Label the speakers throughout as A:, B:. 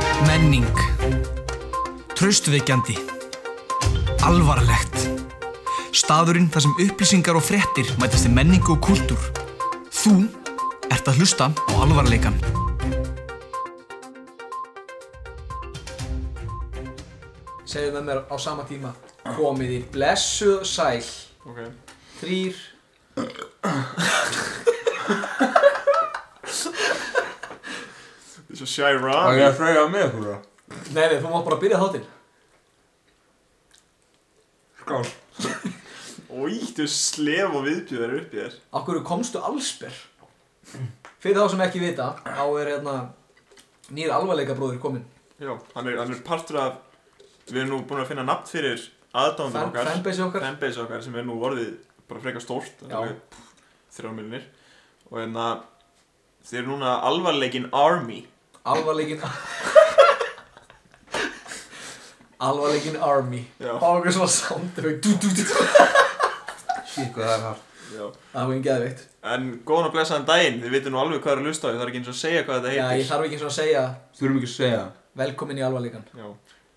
A: Spenning Traustvekjandi Alvarlegt Staðurinn þar sem upplýsingar og fréttir mætast í menningu og kultúr Þú ert að hlusta á alvarleikan
B: segðu með mér á sama tíma komið í blessu og sæl
C: Ok,
B: þrýr
C: þessi Shira
D: Það er að freyja með þú það.
B: nei nei þú mátt bara byrja þáttinn
D: Skál.
C: Ítu slef og viðbjöðar upp í þér
B: af hverju komstu allsber fyrir þá sem ekki vita þá er hérna nýr alvarleika bróður kominn
C: Já Hann er, hann er partur af Við erum nú búin að finna nafn fyrir aðdáðunum
B: Fan,
C: okkar
B: fanbase okkar
C: Fanbase okkar sem er nú orðið bara frekar stórt
B: Já.
C: Þrjá miljonir Og hérna Þið eru núna alvarleikin Army
B: alvarleikin alvarleikin army
C: Já.
B: og okkur svona soundeffekt dú, dú, dú.
D: Sýtt hvað það er hægt.
C: Já
B: það var einn geðveikt
C: En góðan og blessaðan daginn Þið vitið nú alveg hvað er að lusta á Ég þarf ekki eins og að segja hvað þetta
B: já ég
C: heitir
B: þarf ekki svona að segja
D: Þú erum ekki að segja það.
B: velkomin í alvarleikan
C: Já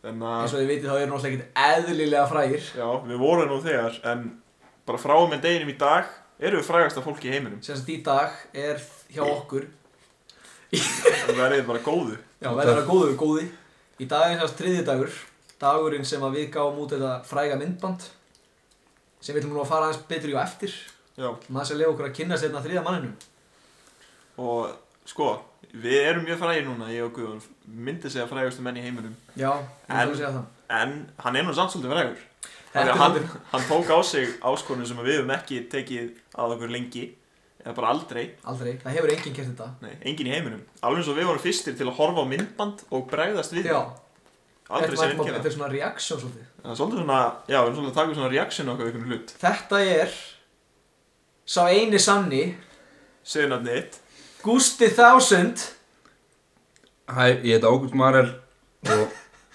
C: Þannig að
B: eins og þið vitið þá eru náttúrulega ekkert eðlilega frægir
C: Já, við vorum nú þegar En bara frá og með deginum í dag Erum við frægasta fólki í heiminum
B: sem sagt í dag er hjá okkur
C: Verðið bara góðu
B: Já, verður að góðu, góði Í dag er þess þriði dagur Dagurinn sem að við gáum út þetta fræga myndband sem við ætlum nú að fara aðeins betur í og eftir
C: Já,
B: maður sem leiða okkur að kynna sérna þriða manninum
C: og sko, við erum mjög frægir núna, ég og Guðjón, myndi segja frægustu menn í heiminum,
B: Já, ég
C: En-
B: ætlum að segja það
C: en hann er nú samt svolítið frægur.
B: Þetta
C: Þannig
B: er
C: að hann,
B: svolítið-
C: hann tók á sig áskonum sem við höfum ekki tekið að okkur lengi, eða bara aldrei,
B: Aldrei, það hefur enginn gert þetta
C: nei, enginn í heiminum. Alveg eins og við vorum fyrstir til að horfa á myndband og bregðast við,
B: Já, þetta
C: aldrei
B: er,
C: sem
B: mættum-
C: enginn.
B: þetta er svona reaksjón svolítið
C: Það er svolítið svona, já, við erum svolítið að taka svona reaksjón okkur einhvern hlut.
B: Þetta er sá eini sanni
C: Segðu náttúrulega eitt,
B: Gusti Thousand
D: Hæ, ég heiti Ágúst Marel og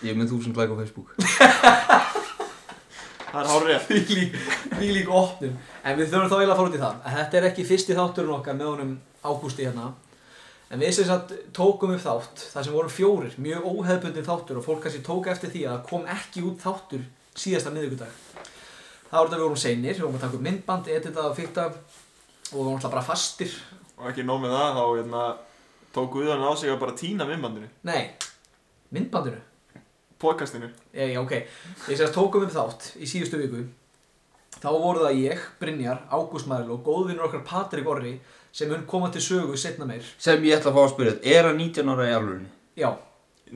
D: ég er með þúsund like á Facebook.
C: það er hárið rétt.
B: Þvílík þvílík opnum En við þurfum þá eiginlega að fara út í það En þetta er ekki fyrsti þátturinn okkar með honum Ágústi hérna En við sem sagt tókum upp þátt þar sem vorum fjórir, mjög óhefbundin þáttur Og fólk kannski tók eftir því að það kom ekki út þáttur síðasta miðvikudag Það var þetta við vorum seinir, við vorum að taka upp myndband, edita og fyrta Og við vorum alltaf bara fastir
C: Og ekki nóg með það, þá hérna, tók Guðjón á sig að bara týna myndbandinu,
B: Nei, myndbandinu
C: podcastinu.
B: Ég, já, ok. Ég sérst tókum við þátt í síðustu viku. Þá voru það ég, Brynjar, Ágúst Maril og góðvinur okkar Patrik Orri sem mun koma til sögu setna meir.
D: Sem ég ætla að fá að spyrja þetta, er hann 19 ára í alvörunni?
B: Já,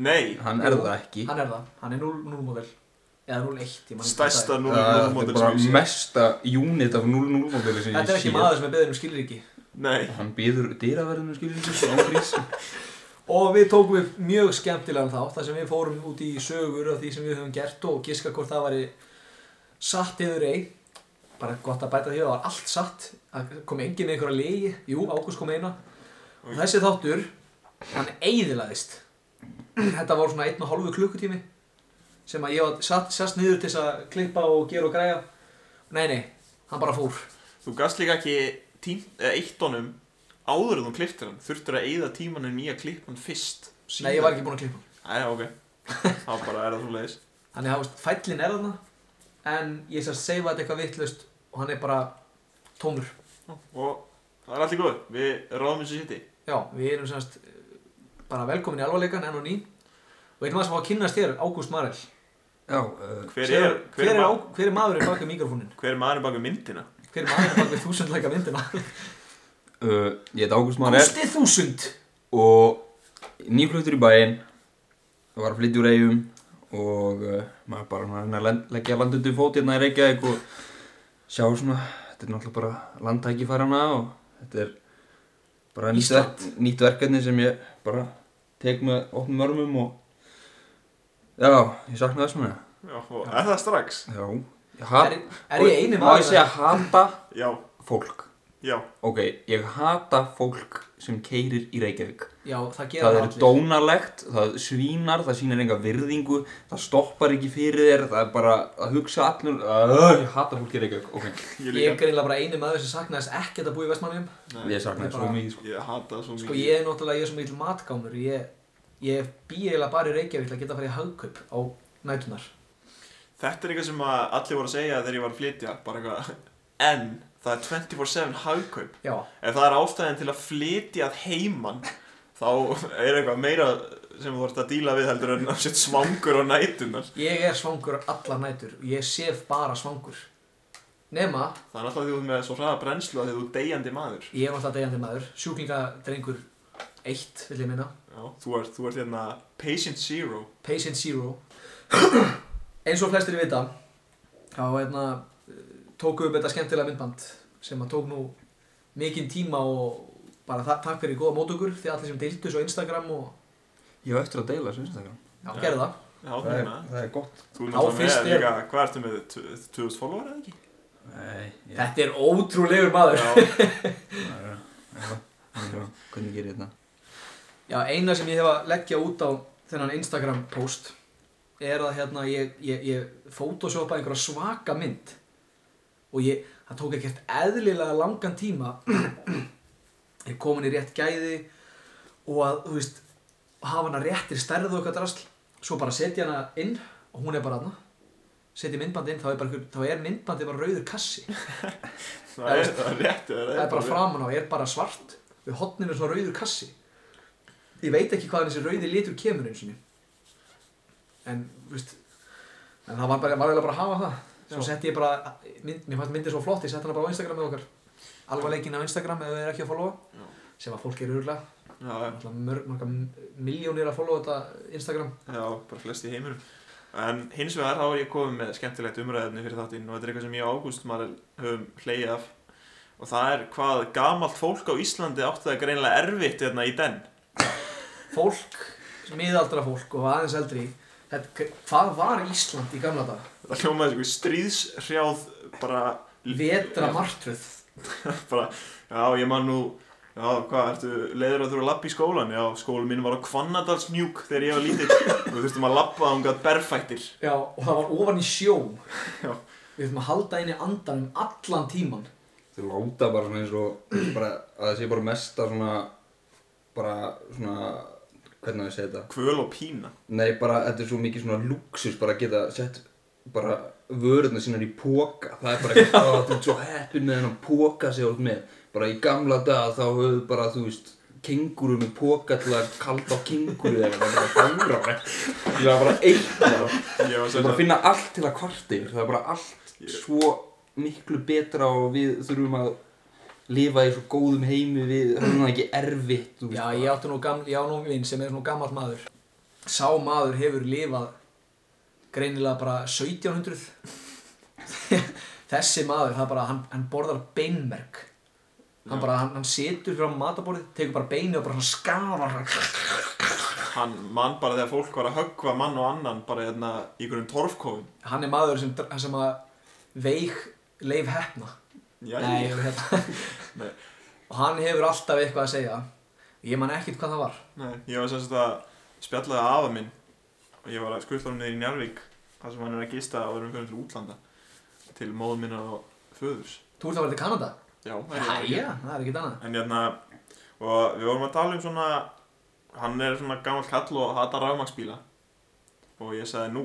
C: Nei,
D: Hann er það ekki.
B: hann er það. Hann er 0 módel. Eða 0-1, ég mann
C: stærsta
D: Það er
C: 0-0 mótil
D: bara mesta unit af 0-0 módeli
B: sko.
D: sem ég
B: Þetta er ekki
D: sé.
B: maður sem er beðin um skilriki.
C: Nei,
D: Hann býður dýraverðinu skiljum þessu ángrís.
B: Og við tókum við mjög skemmtilegan þátt þar sem við fórum út í sögur af því sem við höfum gert og giska hvort það væri satt eður ei. Bara gott að bæta því að það var allt satt. Það kom engin með einhverja legi. Jú, Ágúst kom með eina. Og þessi þáttur, hann eiðilaðist. Þetta var svona einn og hálfu klukkutími sem að ég var satt, sast niður til þess að klippa og gera og græja. Nei, nei, hann bara fór.
C: þú gast líka ekki tím, eða eitt honum áður en þú kliftir hann Þurftur að eyða tímanum í að klippa hann fyrst
B: Nei, ég var ekki búinn að klippa.
C: Æja, ok, þá bara er það svo leiðis
B: Þannig að þú veist, fællin er þarna en ég sérst seifa þetta eitthvað vittlust og hann er bara tómur.
C: Og það er allir góð, við ráðum eins og sitt í
B: Já, við erum sérst bara velkomin í alvarleikan enn og ný og einnig maður sem fá að kynnast þér, Ágúst Marell.
D: Já, uh,
C: Hver er,
B: Segðu,
C: hver er, ma
B: Ág- hver er maðurinn bak við mikrofónin?
C: hver er maðurinn bak við myndina?
B: Hver er maðurinn bak við þúsundleika myndina?
D: uh, ég heiti Ágúst Marel
B: Gústi þúsund!
D: og nýflutur í bæinn. Það var að flytja úr eigum og uh, maður bara svona reyna að len- leggja landundu fót hérna í Reykjavík og sjá svona, þetta er náttúrulega bara landtækifærana og þetta er bara nýtt,
B: Ísland.
D: verk, nýtt verkefni sem ég bara tek með opnum örmum og já, ég sakna þess með
C: Já, og er það strax?
D: það já, ég
B: Er,
D: hat
B: er ég eini
D: má ég segja
B: maðurinn?
D: hata
C: Já,
D: fólk
C: já,
D: ok, ég hata fólk sem keyrir í Reykjavík
B: Já, það gera það
D: það er
B: allir.
D: dónalegt, það svínar, það sýnir enga virðingu, það stoppar ekki fyrir þér, það er bara að hugsa allir, uh, ég hata fólk í Reykjavík, ok,
C: ég
B: Ég er
C: líka
B: greinlega bara eini maður sem saknaðist ekkert að búa í Vestmannum.
C: Nei,
D: ég sakna
B: Ég
D: þér svo
B: bara-
D: mikið, sko.
C: Ég hata það svo mikið
B: Sko ég er náttúrulega, ég er svo mikil matgámur, ég, ég bý eiginlega bara í Reykjavík til að geta að fara í hagkaup á nætunar
C: Þetta er eitthvað sem að allir voru að segja þegar ég var að flytja, bara eitthvað, en það er 24-7 hagkaup.
B: já,
C: Ef það er ástæðin til að flytja að heiman, þá er eitthvað meira sem þú ert að díla við heldur en að setja svangur á nætunar.
B: ég er svangur allar nætur og ég sef bara svangur nema,
C: Það er alltaf því þú ert með svo hraða brennslu að því þú ert deyjandi maður.
B: ég er alltaf degjandi maður sjúklingadrengur 1 vil ég minna,
C: Já, þú ert, þú ert hérna patient zero.
B: patient zero eins og flestir vita þá hérna tóku upp þetta skemmtilega myndband sem að tók nú mikinn tíma og bara þa takk fyrir góða mótökur því allir sem deildu svo á Instagram og
D: Ég hef eftir að deila þessu Instagram.
B: já,
C: Já.
B: gerðu það
C: Já, það er
D: það er gott.
C: Þú
B: Á
C: erum náttúrulega
B: fyrst
C: með
B: er-
C: líka, hvað ertu með, 2000 follower eða ekki?
D: Nei, ég,
B: Þetta er ótrúlegur maður
C: Já,
D: það er- já, já, hvernig gerir ég þetta?
B: Já, eina sem ég hef að leggja út á þennan Instagram post er að hérna ég, ég, ég photoshopa einhverja svaka mynd og ég, það tók ekkert eðlilega langan tíma ég er komin í rétt gæði og að, þú veist, hafa hana réttir stærð og eitthvað drasl svo bara setja hana inn og hún er bara hana setja myndbandi inn, þá er, bara, einhver- þá er myndbandi bara rauður kassi
C: það er, það er rétt það
B: það er bara framan á, er bara svart við hotninu er svona rauður kassi ég veit ekki hvaðan þessi rauði litur kemur eins og mér en, þú veist en það var bara, var eiginlega bara að hafa það svo
C: Já.
B: setti ég bara, mynd, mér fannst myndið svo flott ég setti hana bara á Instagram með okkar alvar leikinn á Instagram ef þau er ekki að followa
C: Já.
B: sem að fólk er örgulega
C: Já,
B: mörg, marga miljónir að followa þetta Instagram
C: já, bara flest í heiminum En hins vegar þá er ég komið með skemmtilegt umræðefni fyrir þáttinn og þetta er eitthvað sem ég og Ágúst maður höfum hleyið af og það er hvað gamalt fólk á Íslandi átti það greinlega erfitt hérna í den
B: fólk, miðaldra fólk og aðeins eldri þetta, hvað var Ísland í gamla dag?
C: Það hljómaði eitthvað stríðshrjáð bara,
B: Vetra martröð
C: bara Já, ég man nú Já, hvað, ertu leiður að þú eru að labba í skólan? Já, skólan mín var á Hvannadalsmjúk þegar ég var lítill og við þurftum að labba um gæt berfættir
B: Já, og það var ofan í sjó
C: Já.
B: Við þurfum að halda inn í andanum allan tíman
D: Þau láta bara svona eins og bara, að það sé bara mesta svona bara svona hvernig á ég að segja þetta
C: Kvöl og pína
D: Nei, bara þetta er svo mikið svona luxus bara að geta sett bara vörðna sínar í póka það er bara eitthvað að þú ert svo heppin með hennan póka sem þú ert með bara í gamla daga þá höfðu bara þú veist kenguru með póka til að kalda á kenguru eða eitthvað, það er bara fangra það er bara eitthvað
C: Ég var
D: það er bara að
C: svolítið
D: finna allt til að kvarta yfir það er bara allt svo miklu betra og við þurfum að lifa í svo góðum heimi við höfum það ekki erfitt þú veist,
B: Já,
D: bara.
B: ég átti nú gaml, ég á nú vinn sem er svona gammal maður Sá maður hefur lifað greinilega bara 1700 Þessi maður, það er bara, hann, hann borðar beinmerk Hann bara, hann, hann setur frá mataborðið, tekur bara beini og bara hann skafar
C: Hann mann bara þegar fólk var að höggva mann og annan bara hérna í einhverjum torfkófum
B: Hann er maður sem, dr- sem að veik leif hefna Nei,
C: Jæja.
B: hérna
C: Nei.
B: Og hann hefur alltaf eitthvað að segja Ég man ekkert hvað það var
C: Nei, ég var svolítið að spjallaði afa minn og ég var að skutla hann niður í Njarvík þar sem hann er að gista og erum fyrir til útlanda til móður minna og föðurs
B: Þú ert að vera til Kanada?
C: Já, það er ég.
B: Jæja, það er ekkert annað
C: En hérna, og við vorum að tala um svona hann er svona gammal kall og hatar rafmaksbíla og ég sagði nú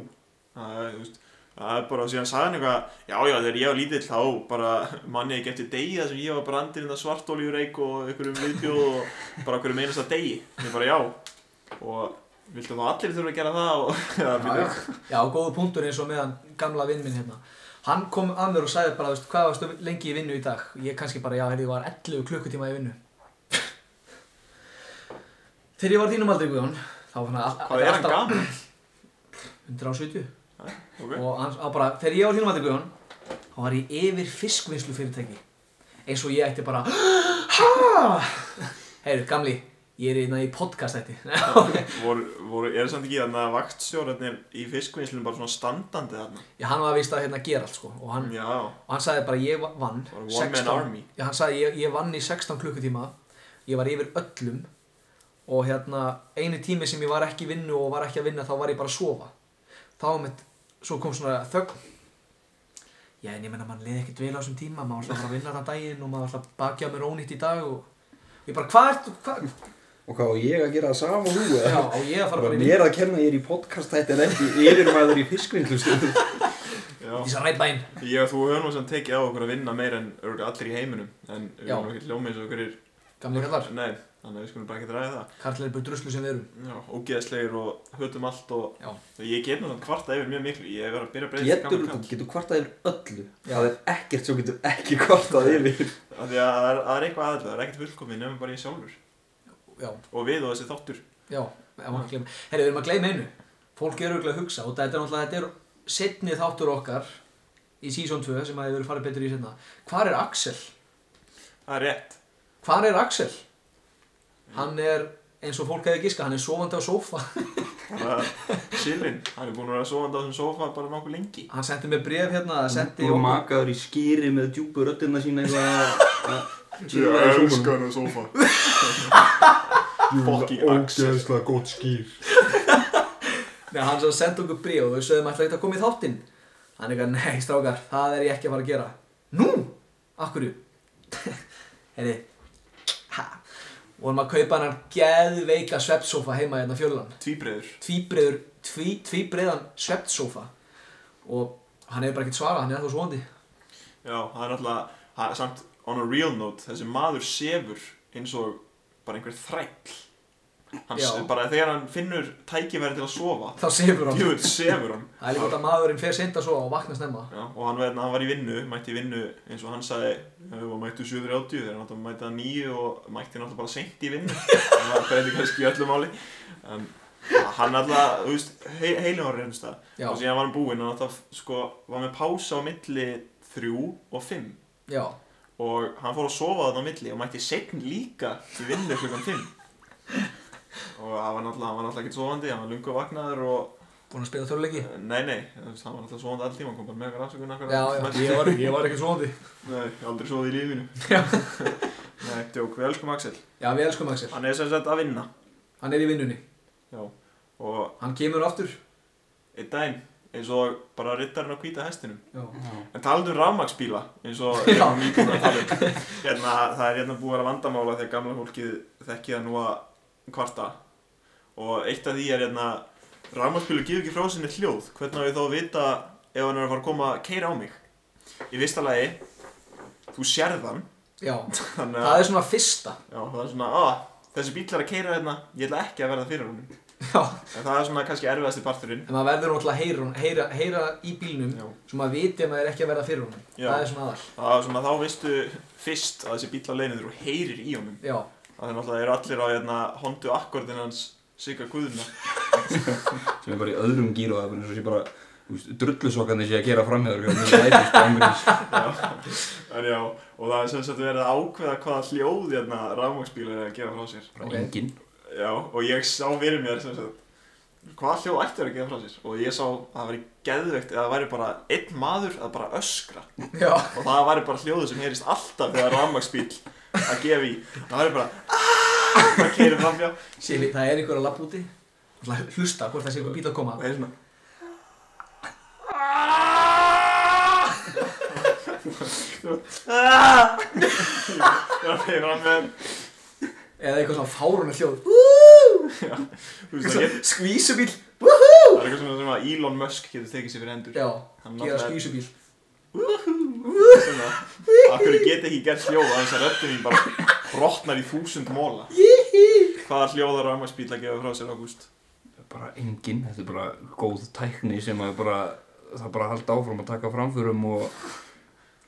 C: það er, þú veist, það er bara, og síðan sagði hann eitthvað já, já, þegar ég var lítill þá bara manni ekki eftir degi þar sem ég var brandinn að svartóljureik og einhverjum viðbjóð og bara einhverjum einasta degi ég bara já og viltu þá allir þurfa að gera það og það
B: Já, já. já, góðu punktur eins og meðan gamla vinn minn hérna Hann kom að mér og sagði bara, veist, hvað varstu lengi í vinnu í dag? Ég kannski bara, já, heyrðu, ég var 11 klukkutíma í vinnu Þegar ég var á þínum aldrei, Guðjón Þá var hann all-
C: hvað er hann
B: alltaf
C: gaman?
B: 170
C: Okay.
B: og hann hann bara, þegar ég var þínum aldrei, Guðjón Þá var ég yfir fiskvinnslu fyrirtæki Eins og ég ætti bara Heyrðu, gamli, ég er hérna í podcast þetta
C: Voru, voru, er samt ekki þannig að vaktstjórarnir í fiskvinnslunum bara svona standandi þarna?
B: Já, hann var vist að hérna gera allt sko og hann,
C: Já,
B: og hann sagði bara ég vann
C: Bara one man army.
B: já, hann sagði ég, ég vann í 16 klukkutíma ég var yfir öllum og hérna einu tími sem ég var ekki í vinnu og var ekki að vinna þá var ég bara að sofa þá var mitt, svo kom svona þögn já en ég menna mann leði ekkert vel á þessum tíma maður var alltaf að vinna þann daginn og maður var alltaf að bakja mér ónýtt í dag og ég bara hvað ert, hvað
D: Og hvað á ég að gera það sama og þú? eða?
B: Já, á ég að fara
D: Bara
B: bara í
D: mér að kenna að ég er í podcast þetta en ekki yfirmaður í fiskvinnslustu.
C: Já,
B: Þess að rætt bæinn.
C: ég og þú höfum nú sem tekið á okkur að vinna meira en örugglega allir í heiminum En við
B: Já.
C: erum nú ekki hljómið eins og okkur er
B: Gamli kallar.
C: Nei, þannig að við skulum bara ekki ræða það
B: Karlinn er hérna, bara druslu sem við erum.
C: Já, ógeðslegir og hötum allt og
B: Já.
C: Ég get nú svona kvarta yfir mjög miklu, ég hef verið að byrja að breyta
D: Getur, þú
C: kall
D: getur kvartað yfir öllu. Það er ekkert sem þú getur ekki kvartað yfir.
C: Af því að það er, það er eitthvað aðeins, það er ekkert fullkomið nefnum bara ég sjálfur
B: Já,
C: Og við og þessi þáttur
B: já. Ef maður gleyma. Herri, við erum að gleyma einu. Fólk er auðvitað að hugsa og þetta er náttúrulega, þetta er setni þáttur okkar í season 2 sem að hefur verið farið betur í setna. Hvar er Axel?
C: Það er rétt
B: Hvar er Axel? Hann er, eins og fólk hefði giska, hann er sofandi á sófa.
C: Bara chillin, hann er búin að vera sofandi á þessum sofa bara nokkuð lengi
B: Hann sendi mér bref hérna, það sendi
D: og
B: okkur-
D: makaður í skýri með djúbu röddina sína eitthvað að- að chilla í sjónum.
C: hann á sofa
E: Fucking
C: Fucking
E: Axel.
C: Axel.
E: Ógeðslega gott skýr.
B: Nei, hann sem sendi okkur bríð og þau sögðum ætla ekkert að koma í þáttinn. Hann eitthvað, nei, strákar, það er ég ekki að fara að gera. Nú? Akkurju? Heyri, ha, vorum að kaupa hennar geðveika svepsófa heima hérna fjölan.
C: Tvíbreiður
B: Tvíbreiður, tví, tvíbreiðan svepsófa. Og hann hefur bara ekkert svarað, hann er ennþá svoandi.
C: Já, það er alltaf, það er samt on a real note, þessi maður sefur eins og bara einhver þræll. Hann,
B: Já.
C: s- bara þegar hann finnur tækifæri til að sofa,
B: Þá sefur hann.
C: djúvill sefur hann.
B: Það er líka gott að maðurinn fer seint að sofa og vakna snemma.
C: Já, og hann, veitna, hann var í vinnu, mætti í vinnu eins og hann sagði, við varum mættu 7.30 þegar hann átti að mæta 9 og mætti náttúrulega bara seint í vinnu. það breyti kannski í öllu máli. Um, hann alltaf, þú veist, he heilum var reynst það.
B: Já,
C: Og síðan var hann búinn, hann alltaf, sko, var með pása á milli 3 og 5.
B: já.
C: og hann fór að sofa þarna á milli og mætti setn líka til vinnu klukkan 5 og hann var náttúrulega, hann var náttúrulega ekki sofandi, hann var lungu vaknaður og
B: Búin að spila töluleiki?
C: nei nei, þú veist, hann var náttúrulega sofandi alltíma, hann kom bara með okkar afsökun akkur
B: Já, já, ég var, ég var ekki svoandi.
C: Nei, ég hef aldrei sofið í lífinu
B: Já.
C: Nei, djók, við elskum Axel
B: Já, við elskum Axel.
C: Hann er sem sagt að vinna
B: Hann er í vinnunni.
C: Já, og
B: Hann kemur aftur.
C: einn daginn eins og bara rittarinn á hvíta hestinum
B: Já.
C: En talandi um rafmagsbíla, eins og
B: Já.
C: erum við búin að tala um hérna, Það er hérna búið að vera vandamála þegar gamla fólkið þekkið að nú að kvarta Og eitt af því er hérna Rafmagsbílu gefur ekki frá sinni hljóð Hvernig á ég þá að vita ef hann er að fara að koma að keira á mig Í fyrsta lagi Þú sérð hann
B: Já.
C: Þannig
B: Það
C: að
B: er svona fyrsta.
C: já, það er svona að Þessi bíl er að keira hérna, ég ætla ekki að verða fyrir honum
B: Já.
C: En það er svona kannski erfiðasti parturinn
B: En maður verður náttúrulega að heyra, hún- heyra, heyra í bílnum
C: Já.
B: svo maður viti að maður er ekki að verða fyrir honum.
C: Já.
B: Það er svona aðall.
C: Það er svona þá veistu fyrst að þessi bíl á leiðinu og heyrir í honum
B: Já.
C: Það er náttúrulega eru allir á hérna, hondu akkordin hans Sigga Guðna
D: Sem er bara í öðrum gíru og það er bara eins og sé bara þú veist, drullusokkandi sé að gera framhjáður hjá mér lætist og angurins.
C: En já, og það er sem sagt verið að ákveða hvaða hljóð hérna rafmagsbílar er að gefa frá sér
D: Bara enginn.
C: Já, og ég sá fyrir mér sem sagt hvaða hljóð ætti að gefa frá sér og ég sá að það væri geðveikt eða það væri bara einn maður að bara öskra
B: Já.
C: og það væri bara hljóðu sem heyrist alltaf þegar rafmagsbíl að gefa í það væri bara "Ah!" það keirir framjá
B: Sili, það er einhver að lappa úti. Náttúrulega Hlusta hvort það sé einhver bíl að koma.
C: og það er svona Það er fyrir fram með
B: Eða eitthvað svona fárunni hljóð.
C: þú veist, Það get-
B: Skvísubíl.
C: það er eitthvað svona sem að Elon Musk getur tekið sér fyrir hendur
B: Já.
C: Hann
B: Gera
C: náttúrulega-
B: skvísubíl.
C: Svona, Akkur get ekki gert hljóð að þess að röddum mín bara brotnar í þúsund móla Hvaða hljóðar á ammarsbíl að gefa frá sér ágúst?
D: Bara enginn. Þetta er bara góð tækni sem að bara, það bara halda áfram að taka framförum og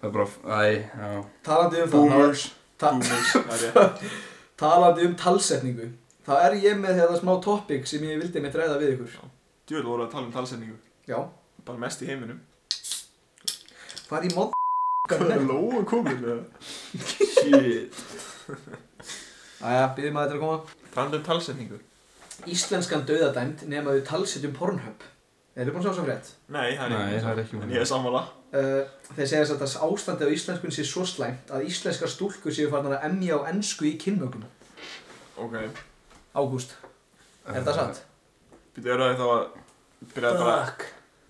D: það er bara, æ, já.
B: Talandi um það.
C: Boomers
B: Ta-
C: Boomers, það er rétt
B: Talandi um talsetningu. Þá er ég með hérna smá topic sem ég vildi mitt ræða við ykkur.
C: Djúvel voru að tala um talsetningu
B: Já.
C: Bara mest í heiminum
B: Hvað er í móð...
C: Lóa komin
D: Shit.
B: Æja, byrjum að þetta að koma.
C: Talandi um talsetningu
B: Íslenskan döðadæmd nema við talsetjum Pornhub. Eru búin að sjá svo frétt?
C: Nei, það er
D: Nei,
C: ekki
D: það er ekki
C: En
D: mjög.
C: ég er sammála
B: Uh, þeir segja þess að það ástandi á íslenskun sé svo slæmt að íslenskar stúlkur séu farnar að emja á ennsku í kynmökum.
C: Ok
B: Ágúst, er það satt?
C: Býtu eru það þá að byrja bara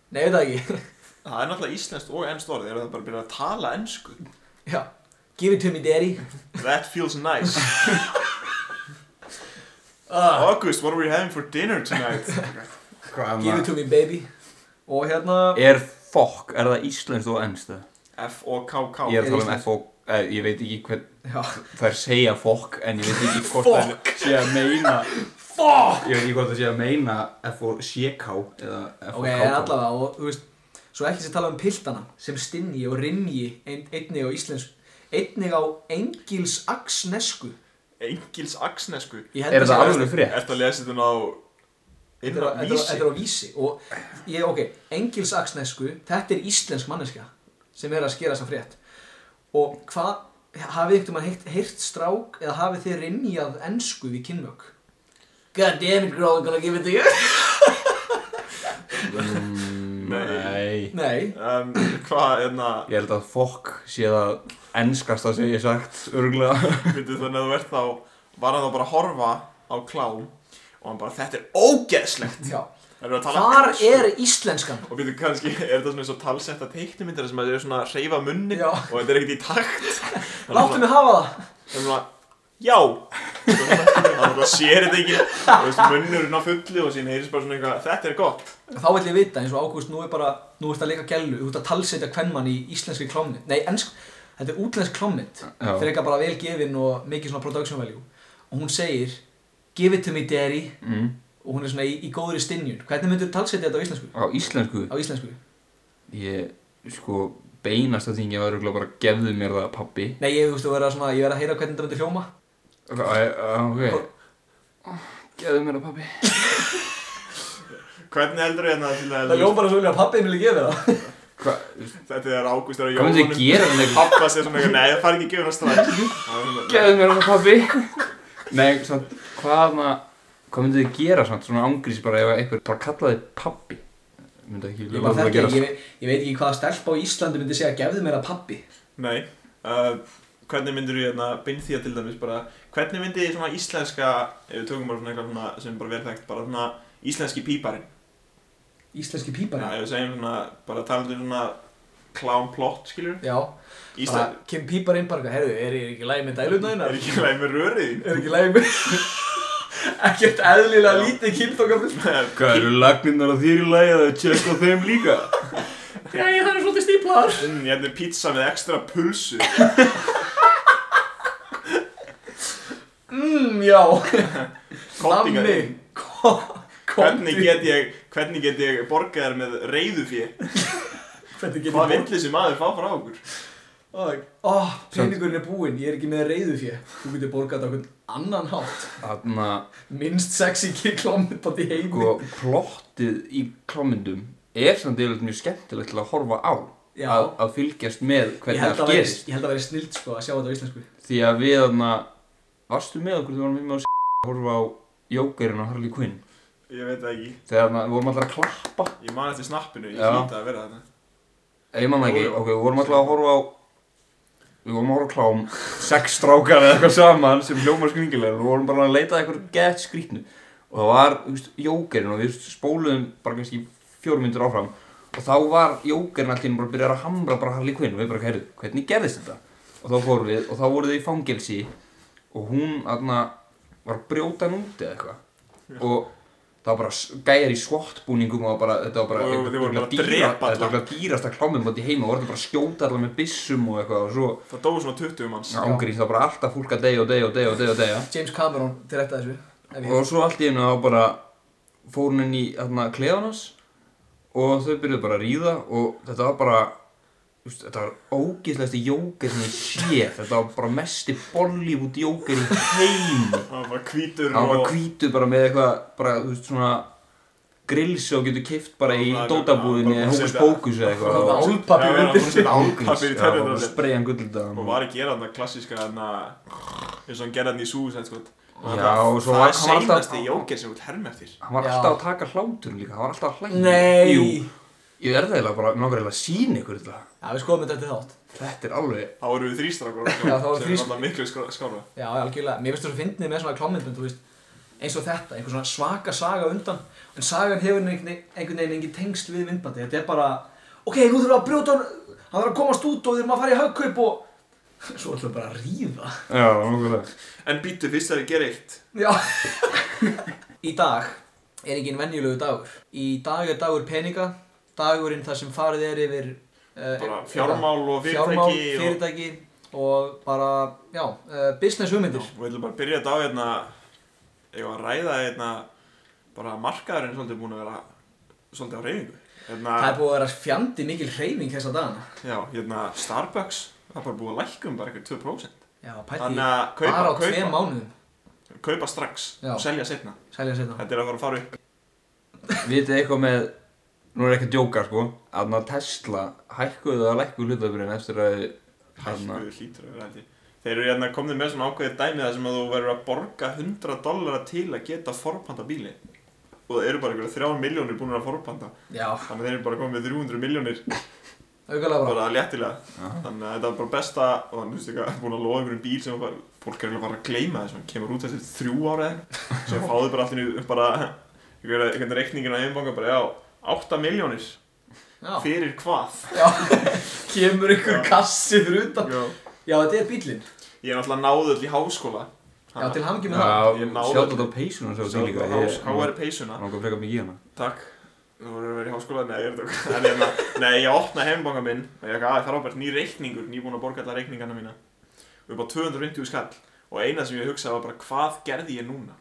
B: Nei, veit það ekki.
C: Það er náttúrulega íslenskt og ennst orð eru það bara að byrja að tala ennsku
B: Já, give it to me daddy.
C: That feels nice
B: Ah,
C: August, what are we having for dinner tonight?
D: Hvað
B: give it to me baby Og hérna
D: Er fokk, er það íslenskt og ennst það?
C: F-O-K-K
D: Ég er að tala um
B: íslenskt.
D: fokk, eh, ég veit ekki hvern,
B: Já
D: það er segja fokk en ég veit ekki hvort það er sé að meina
B: Fuck
D: Ég veit ekki hvort það sé að meina F-O-C-K eða
B: Ok,
D: F-O-K-K
B: en allavega og þú veist Svo ekki sé tala um piltana sem stinni og rinni ein, einnig á íslensku einnig á engils aksnesku
C: Engils Axnesku
D: Er þetta alveg frétt?
C: Ertu að lesa þetta á
B: Þetta er á-
C: Innan
B: þetta er á- þetta
C: vísi
B: er á vísi og ég, ok, engilsaksnesku, þetta er íslensk manneska sem er að skera þessa frétt og hvað, hafið einhvern mann heyrt, heyrt strák eða hafið þið rinjað ensku við kynmök? God damn it girl, I'm gonna give it to you
D: Mm, Nei
B: Nei,
C: um, Hvað, hérna
D: Ég held að fokk sé það ennskast að segja sagt örgulega
C: Myndi þannig að þú ert þá Var hann þá bara að horfa á klám Og hann bara, þetta er ógeðslegt
B: já,
C: Það eru að tala
B: hvar
C: ensku.
B: er íslenskan?
C: Og byrju, kannski er þetta svona eins og talsetta teiknumyndir sem að þau eru svona að reyfa munni
B: Já.
C: og þetta er ekkert í takt Þannig að-
B: Láttu mig hafa það
C: Það er svona, já Það er bara sér þetta ekki og veist, munnurinn á fullu og síðan heyrðis bara svona eitthvað Þetta er gott
B: Þá vill ég vita eins og ágúst, nú er bara, nú ert að leika gellu, þú ert að talsetja kvenmann í íslenski klámynd Nei, ensk, þetta er útlensk klámynd
D: Já.
B: Frekar bara vel gefin og mikið svona production value Og hún segir, give it to me daddy
D: mm.
B: og hún er svona í, í góðri stinjun hvernig myndur talsetja þetta á íslensku?
D: Á íslensku
B: á íslensku?
D: Ég sko beinasta þingi var örgulega bara gefðu mér það pappi
B: Nei, ég þú veist að vera svona, ég verð að heyra hvernig þetta myndur hljóma
D: Ok, ok Gefðu mér það pappi
C: Hvernig heldur ég hérna til að
B: hljóma bara svo vilja að pappið minn gefa það
D: Hvað
C: Þetta er ágúst þegar
D: hva myndi ég gera þannig
C: Pappa segir svona eitthvað, nei það fari ekki að gefa hana strax Það er svona-
D: Gefðu mér það pappi Nei, samt, hvað maður Hvað myndið þið gera samt, svona ángrís bara ef einhver bara kallaði pappi Myndið ekki
B: ég,
D: láta
B: bara
D: það
B: þekki,
D: gerast.
B: ég, ve- ég veit ekki hvaða stelpa á Íslandi myndi segja gefðu mér að pappi
C: Nei uh, Hvernig myndir ég hérna bindþýja til dæmis bara Hvernig myndi svona íslenska Ef við tökum bara svona eitthvað svona sem er bara verið þekkt Bara svona íslenski píparinn
B: íslenski
C: Já,
B: pípari
C: ef við segjum svona Bara talandi um svona clown plot skilur
B: já, bara
C: Ísland
B: kem píparinn bara, eitthvað, herðu, er, er ekki læg með dælutnaðina?
C: Er ekki leið með rörið þín
B: er ekki læg með ekkert eðlilega
C: Já.
B: lítið kynþókafull
D: Hvað eru lagninnar á þýri lægi að tjekka á þeim líka?
B: já, ég þarf svolítið stíplaðar
C: Mm, Hérna er pizza með ekstra pulsu
B: mm, já,
C: Kottingar
B: nammi
C: þín.
B: Ko-
C: Hvernig
B: komdu.
C: get ég, hvernig get ég borgað þér með reyðufjö?
B: hvernig get ég
C: Hvað
B: borgað?
C: vill þessi maður fá frá okkur?
B: Ó, oh, peningurinn er búinn, ég er ekki með reyðu fjö Þú getur borgað á hvern annan hátt
D: Þarna,
B: Minnst sexy kikklómyndband í heimi
D: sko, plottið í klámyndum er samt yfirlega mjög skemmtilegt til að horfa á
B: Já.
D: að, að fylgjast með
B: ég
D: hvernig
B: held,
D: það
B: að
D: gerist
B: veri, ég held að veri snilt sko að sjá þetta á íslensku
D: Því að við þarna Varstu með okkur þegar við vorum með með að horfa á Jókerinn og Harley Quinn
C: Ég veit það ekki.
D: Þegar þarna, við vorum alltaf að klappa
C: Ég man eftir snappinu, ég
D: Já.
C: hlýta að vera þarna.
D: Ég man það ekki,
C: Jú, jú.
D: ok, við vorum alltaf að horfa á Við vorum að horfa á klám Sex strákar eða eitthvað saman sem hljómar skringilega Við vorum bara að leita að eitthvað gett skrýtnu Og það var, þú veist, jókerinn Og við spóluðum bara kannski fjórum myndur áfram Og þá var jókerinn allir bara að byrja að hamra bara Harley Quinn Og við bara, heyrðu, hvernig gerðist þetta? Og þá fórum við, og þá voru þau í fangelsi Og hún, aðna, var að brjóta hann úti eða eitthvað Og það var bara s- gæjar í svottbúningum og bara, þetta var bara
C: Og þau voru bara að
D: dýra-
C: drepa alla.
D: þetta var bara dýrasta klámið mátt í heima og voru þetta bara að skjóta allar með byssum og eitthvað og svo
C: Það dói svona 20 manns.
D: ángríns það var bara alltaf fólk að deyja og deyja og deyja og deyja og deyja
B: James Cameron til þetta þessu ef ég-
D: og svo allt í einu þá bara fór hún inn í þarna kleðan hans og þau byrjuðu bara að ríða og þetta var bara Úst, þetta var ógeðslegasti jóker sem ég sé þetta var bara mesti Bollywood jóker í heimi
C: Það var bara hvítur
D: hann var
C: og...
D: bara hvítu bara með eitthvað bara, þú veist, svona grills og getur keift bara í
C: Já,
D: dótabúðinni
C: bara
D: eða hókus
C: setja-
D: bókus eða eitthvað
B: Það var
D: og-
B: álpapír
C: Já,
B: undir
C: já, já, já. álpappír í
D: Já,
C: tennurnar.
D: bara spreyja hann gulldagan
C: Og var að gera þarna klassíska þarna... eins og hann gerði þarna í Suicide Squad. Og
D: Já,
C: þarna,
D: og svo
C: það
D: var-
C: er
D: hann var alltaf-
C: seinasti jóker sem þú ert herm eftir.
D: hann var
B: Já.
D: alltaf að taka hláturinn líka hann var alltaf að hlæja
B: Nei
D: Jú, ég er það eiginlega bara mig langar eiginlega að sína ykkur þetta
B: Já, við skoðum þetta eftir þátt
D: þetta er alveg
C: Þá voru við þrýstrakkur.
B: Já, þá voru
C: Sem
B: þrír-
C: er alltaf miklu skra- skára.
B: Já, algjörlega, mér finnst þú svo fyndnið með svona klámyndband, þú veist eins og þetta, einhver svona svaka saga undan en sagan hefur einhvern einhvern veginn engin tengsl við myndbandi, þetta er bara ok, nú þurfum við að brjóta hann hann þarf að komast út og þurfum að fara í haugkaup og svo ætlum við bara að ríða
D: já, nokkulega
C: En býttu fyrst að þið gera eitt.
B: Já, Í dag er ekki en venjulegu dagur. Í dag er dagur peninga, dagurinn þar sem farið er yfir uh,
C: Bara fjármál og fyrirtæki
B: fjármál,
C: og-
B: fyrirtæki og, bara, já, uh, business hugmyndir.
C: og við ætlum bara að byrja þetta á hérna eða að ræða hérna bara að markaðurinn er svolítið búin að vera svolítið á reyningu hérna,
B: Það er búið að vera fjandi mikil hreyfing þessa dagana.
C: já, hérna Starbucks það er bara búið að lækka um bara eitthvað 2%
B: Já, pæti,
C: þannig að kaupa,
B: bara á tveim
C: kaupa,
B: mánuðum.
C: kaupa strax
B: Já.
C: og selja setna
B: Sælja setna.
C: þetta er að fara að fara upp
D: Vitið eitthvað með, nú er ekki að djóka sko, að Tesla hækkuðu að lækku hlutabrinn eftir að Þarna.
C: Hækkuðu hlýtur að vera held ég. þeir eru hérna komnið með svona ákveðið dæmi þar sem að þú verður að borga 100 dollara til að geta forpanta bíli og það eru bara einhverja 3 miljónir búin að forpanta
B: Já,
C: þannig að þeir eru bara komið með 300 miljónir
B: auðvitað bara.
C: bara léttilega þannig að þetta var bara besta og hann veist ekki að búin að lofa einhverjum bíl sem var, fólk er eiginlega bara að gleyma þess hann kemur út eftir þrjú ára eða eitthvað sem fáðu bara allir upp bara einhverja- einhvern reikningin á einbanga bara já 8 miljónir
B: Já,
C: fyrir hvað
B: já. kemur ykkur kassi fyrir utan.
C: já.
B: Já, þetta er bílinn.
C: ég er náttúrulega náðu öll í háskóla
B: Já, til hamngi með það.
D: Já,
C: Ég náði
D: sjátt þetta á peysuna svo
C: Sjáðu
D: dýlinga,
C: á
D: ég
C: HR peysuna
D: langar frekar mikið í hana.
C: Takk Þú voru að vera í háskóla, nei, ég er þetta En hérna, nei, ég opna heimbanka minn og ég ekki aðeins frábært ný reikningur, ný búin að borga alla reikningana mína og upp á 250 skall og eina sem ég hugsaði var bara, hvað gerði ég núna?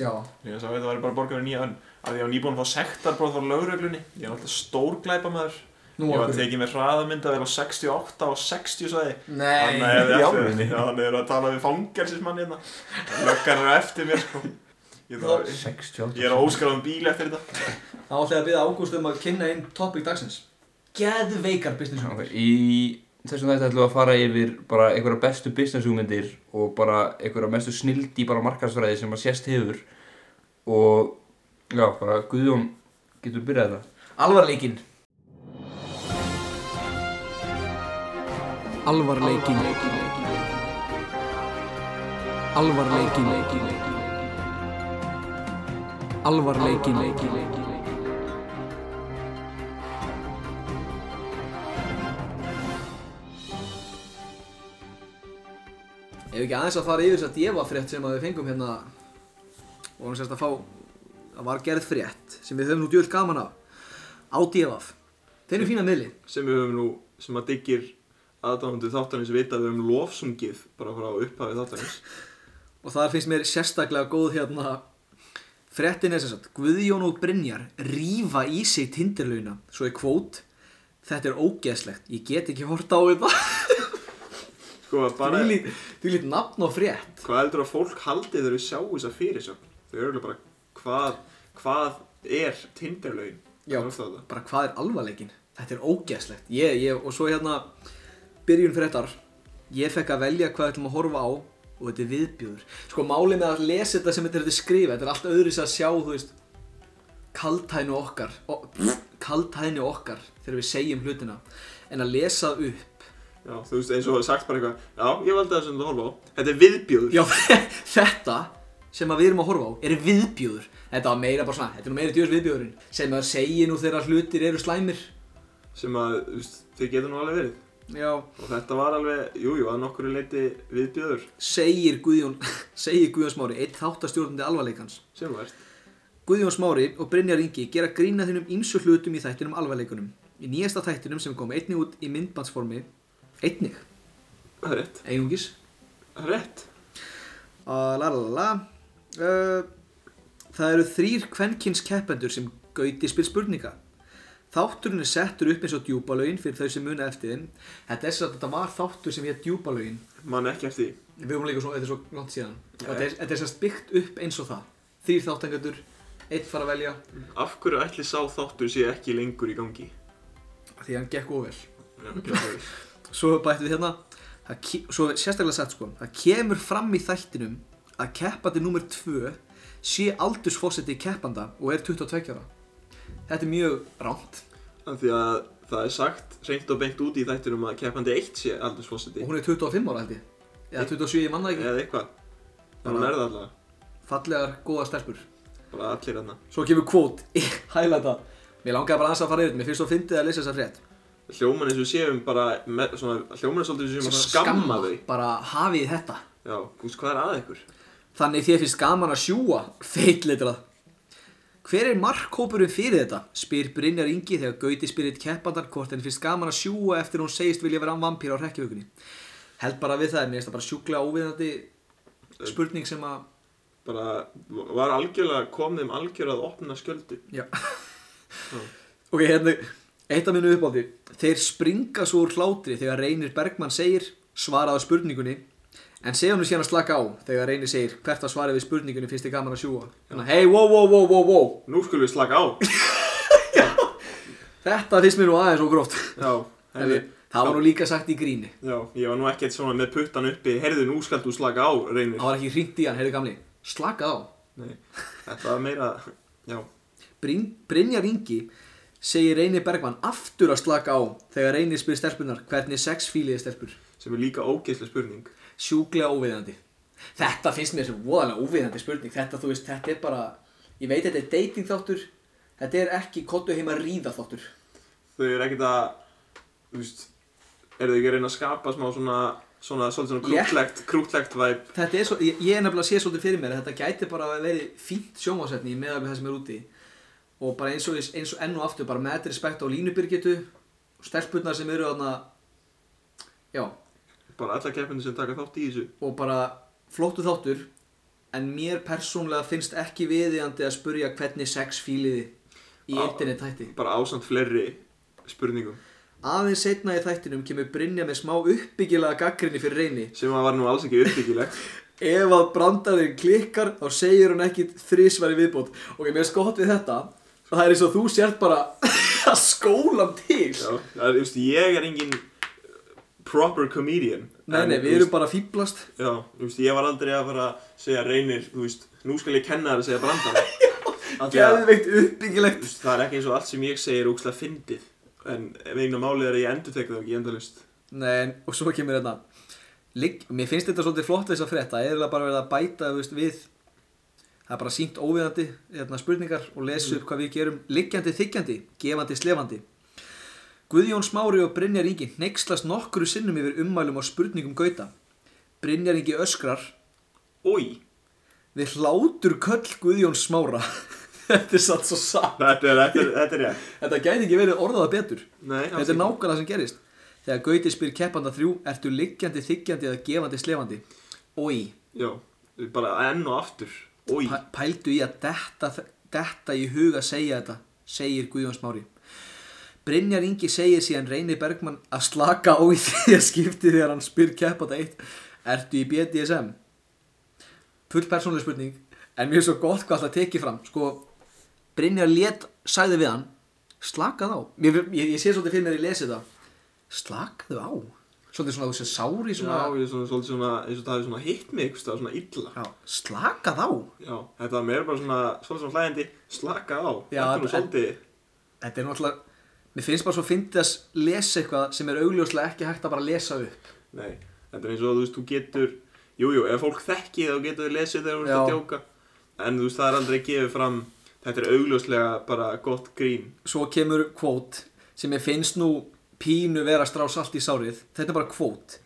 B: Já,
C: Ég sagði, þetta væri bara að borga fyrir nýja önn af því ég var nýbúin að fá sektar bara frá lögreglunni ég er alltaf stórglæpa maður
B: nú
C: ég var
B: okkur.
C: tekið með hraðamynda vel á 68 og 60 svæði
B: Nei,
C: Þannig að
D: í
C: við
D: alvörunni?
C: allir, já, þannig erum við að tala við fangelsismann hérna Löggan eru eftir mér, sko Ég, þarf-
D: 68.
C: ég er á óskrafum bíl eftir þetta
B: þá ætla ég að byrja Ágúst um að kynna inn topic dagsins. Geðveikar business hugmyndir.
D: Ok, Í þessum þetta ætlum við að fara yfir bara einhverja bestu business hugmyndir og bara einhverja mestu snildi bara markarsfræði sem að sést hefur og já, bara Guðjón getur byrjað þetta.
B: Alvarleikinn. Alvarleikinn. Alvarleikinn. Alvarleikinn. Ef ekki aðeins að fara yfir þess að djefafrétt sem að við fengum hérna og hann sérst að fá að var gerð frétt sem við höfum nú djöld gaman af á djefaf þeir eru fína miðli
C: sem við höfum nú, sem að diggir aðdáðandu þáttanins vita að við höfum lofsungið bara frá upphafi þáttanins
B: og þar finnst mér sérstaklega góð hérna fréttin er sérst að Guðjón og Brynjar rýfa í sig tindirlauna svo er kvót þetta er ógeðslegt, ég get ekki horta á þetta
C: sko bara,
B: því lít, því lít nafn og frétt
C: hvað heldur að fólk haldi þegar þau sjá þess að fyrir sjá þau eru örugglega bara, hvað, hvað er tinderlaun
B: Já.
C: Það er oft á þetta.
B: bara hvað er alvarleikin þetta er ógeðslegt ég, ég, og svo hérna byrjun fréttar ég fekk að velja hvað við ætlum að horfa á og þetta er viðbjöður sko máli með að lesa þetta sem þetta er þetta skrifa þetta er allt öðru að sjá þú veist kaltænu okkar o- kaltænu okkar þegar við segjum hlutina en að lesa upp
C: já, þú veist eins og það er sagt bara eitthvað já, ég valdi það sem þú horfa á, þetta er viðbjóður
B: já þetta sem að við erum að horfa á er viðbjöður þetta var meira bara svona þetta er nú meira djurs viðbjöðurinn sem að segja nú þegar hlutir eru slæmir
C: sem að, þú veist, þau geta nú alveg verið
B: já
C: og þetta var alveg, jújú, jú, að nokkuru leiti viðbjóður
B: segir Guðjón, segir Guðjón Smári, eitt þáttastjórnandi alvarleikans.
C: sem vært
B: Guðjón Smári og Brynjar Ingi gera grína þínum ímsu hlutum í þættinum alvarleikunum. Í nýjasta þættinum sem kom einnig út í myndbandsformi, einnig,
C: það er rétt,
B: einungis,
C: það er rétt
B: uh, la la la la, uh, það eru þrýr kvenkins keppendur sem gauti spil spurninga. Þátturinn er settur upp eins og djúbalögin fyrir þau sem muna eftir þeim. Þetta er sér að þetta var þáttur sem hétt djúbalögin.
C: mann ekki eftir því
B: Við vorum líka svo, þetta er svo langt síðan Þetta er, þetta er sérst byggt upp eins og það Þrýr þáttangatur, eitt fara að velja
C: Af hverju ætli sá þáttur sé ekki lengur í gangi?
B: Því hann gekk óvel
C: Já, ekki það er.
B: Svo bætti við hérna það ke- Svo er sérstaklega sett sko Það kemur fram í þættinum að keppandi númer 2 sé aldursfósetti keppanda og er 22 ára Þetta er mjög rámt
C: Af því að það er sagt reynd og beint úti í þættinum að keppandi 1 sé aldursfossiti
B: og hún er 25 ára held ég Eða 27, ég manna ekki
C: eða eitthvað. Þannig að
B: Bara-
C: er það allavega.
B: Fallegar, góða stelpur
C: Bara allir hérna. hann.
B: Svo kemur kvót, hælæta Mér langaði bara aðeins að fara yfir þetta, mér finnst þú að fyndið að lesa þessa frétt
C: Hljóman eins og við séum bara, með, svona, hljóman er svolítið sem að
B: Sem
C: skamma þau.
B: bara hafið þetta
C: Já, þú veist hvað er að ykkur?
B: Þannig þér finnst gaman að sjúa, feitletrað. Hver er markhópurinn fyrir þetta? Spyr Brynjar Ingi þegar Gauti spyr eitt keppandar hvort henni finnst gaman að sjúa eftir að hún segist vilja vera vampýr á rekkjavökunni. Held bara við það, en mér finnst það bara sjúklega óviðandi spurning sem að...
C: bara var algjörlega kom þeim algjörlega að opna skjöldi
B: Já. ok, hérna, eitt af mínu uppáldi. Þeir springa svo úr hlátri þegar Reynir Bergmann segir svaraðu spurningunni, en segja hann síðan að slaka á þegar Reynir segir hvert að svara við spurningunni finnst þið gaman að sjúa. Þannig að, hey, wow, wow, wow, wow, wow.
C: nú skulum við slaka á
B: Þetta finnst mér nú aðeins og gróft
C: já,
B: Herri,
C: herri,
B: Það var nú líka sagt í gríni
C: já, ég var nú ekkert svona með puttan uppi heyrðu nú skalt þú slaka á reynir
B: Það var ekki hringt í hann, heyrðu gamli Slakað á
C: Nei, þetta var meira já,
B: Bryn, Brynjar Ingi segir Reynir Bergmann aftur að slaka á þegar Reynir spyr stelpunar hvernig sex fíliði stelpur
C: sem er líka ógeðslega spurning
B: Sjúklega óviðandi Þetta finnst mér sem voðalega óviðandi spurning Þetta, þú veist, þetta er bara Ég veit þetta er dating þáttur Þetta er ekki kottu heima ríða þáttur
C: þau eru ekkert að þú veist, eru þau ekki að reyna að skapa smá svona svona, svona, svona
B: Létt.
C: krútlegt, krútlegt væp
B: Þetta er svo, ég, ég er nefnilega að sé svolítið fyrir mér að þetta gæti bara að verið fínt sjónvásetni meðal við það sem er úti og bara eins og, eins og enn og aftur bara með þetta respekt á línubyrgitu og stelpurnar sem eru þarna já,
C: bara alla keppinu sem taka þátt í þessu
B: og bara flottu þáttur en mér persónlega finnst ekki viðiðandi að spurja hvernig sex fíliði í
C: Á-
B: internet þætti
C: bara ásamt fleiri spurningum
B: aðeins setna í þættinum kemur Brynja með smá uppbyggilega gaggrinni fyrir reyni
C: sem að var nú alls ekki uppbyggilegt
B: ef að brandarinn klikkar þá segir hún ekki þrísværi viðbót ok, mér er skott við þetta og það er eins og þú sért bara að skólam til
C: Já, það er, þú veist, ég er engin proper comedian
B: nei,
C: En,
B: nei,
C: þú
B: við
C: veist,
B: erum bara að fýblast
C: Já, þú veist, ég var aldrei að fara að segja reynir, þú veist, nú skal ég kenna þér að segja brandar að,
B: geðveikt
C: þú
B: uppbyggilegt
C: veist, það er ekki eins og allt sem ég segi er úkslega fyndið En vegna málið er að ég endur tekið það ekki endalust
B: nei, en- og svo kemur þetta Ligg, mér finnst þetta svolítið flott þess að frétta það er eiginlega bara verið að bæta þú veist, við það er bara sínt óviðandi hérna, spurningar og lesa upp hvað við gerum liggjandi þiggjandi, gefandi slefandi Guðjón Smári og Brynjar Ingi neykslast nokkru sinnum yfir ummælum á spurningum gauta Brynjar Ingi öskrar
C: Új,
B: Við hlátur köll Guðjón Smára Þetta er satt svo satt
C: þetta er, þetta er, þetta er ég
B: Þetta gæti ekki verið orðaða betur
C: Nei, alls
B: Þetta er
C: ekki.
B: nákvæmlega sem gerist Þegar Gauti spyr keppanda þrjú Ertu liggjandi, þiggjandi eða gefandi, slefandi Ói,
C: Já, bara enn og aftur Új,
B: pældu í að detta, detta í huga að segja þetta Segir Guðjón Smári Brynjar Ingi segir síðan Reyni Bergmann að slaka á í því að skipti þegar hann spyr keppanda eitt Ertu í BDSM? full persónuleg spurning en mér er svo gott hvað það tekið fram sko, Brynjar Lét sagði við hann slakað á mér, ég, ég sé svolítið fyrir mér að ég lesi það slakaðu á svolítið svona þessi sári
C: já,
B: svona,
C: ég er svona, svolítið svona, eins og það hefur svona hitt mig, eitthvað svona illa
B: já, slakað á
C: Já, þetta var meira bara svona, svolítið svona hlæðandi, slaka á
B: Já,
C: Þetta er nú
B: en-
C: svolítið
B: þetta er náttúrulega mér finnst bara svo fyndið að s- lesa eitthvað sem er augljóslega ekki hægt að bara lesa upp
C: Nei, þetta er eins og þú veist, þú getur Jújú, jú, ef fólk þekki þá getur þau lesið þegar þú ert að
B: Já.
C: djóka En þú veist, það er aldrei gefið fram Þetta er augljóslega bara gott grín
B: svo kemur kvót sem ég finnst nú pínu vera að strá salt í sárið þetta er bara kvót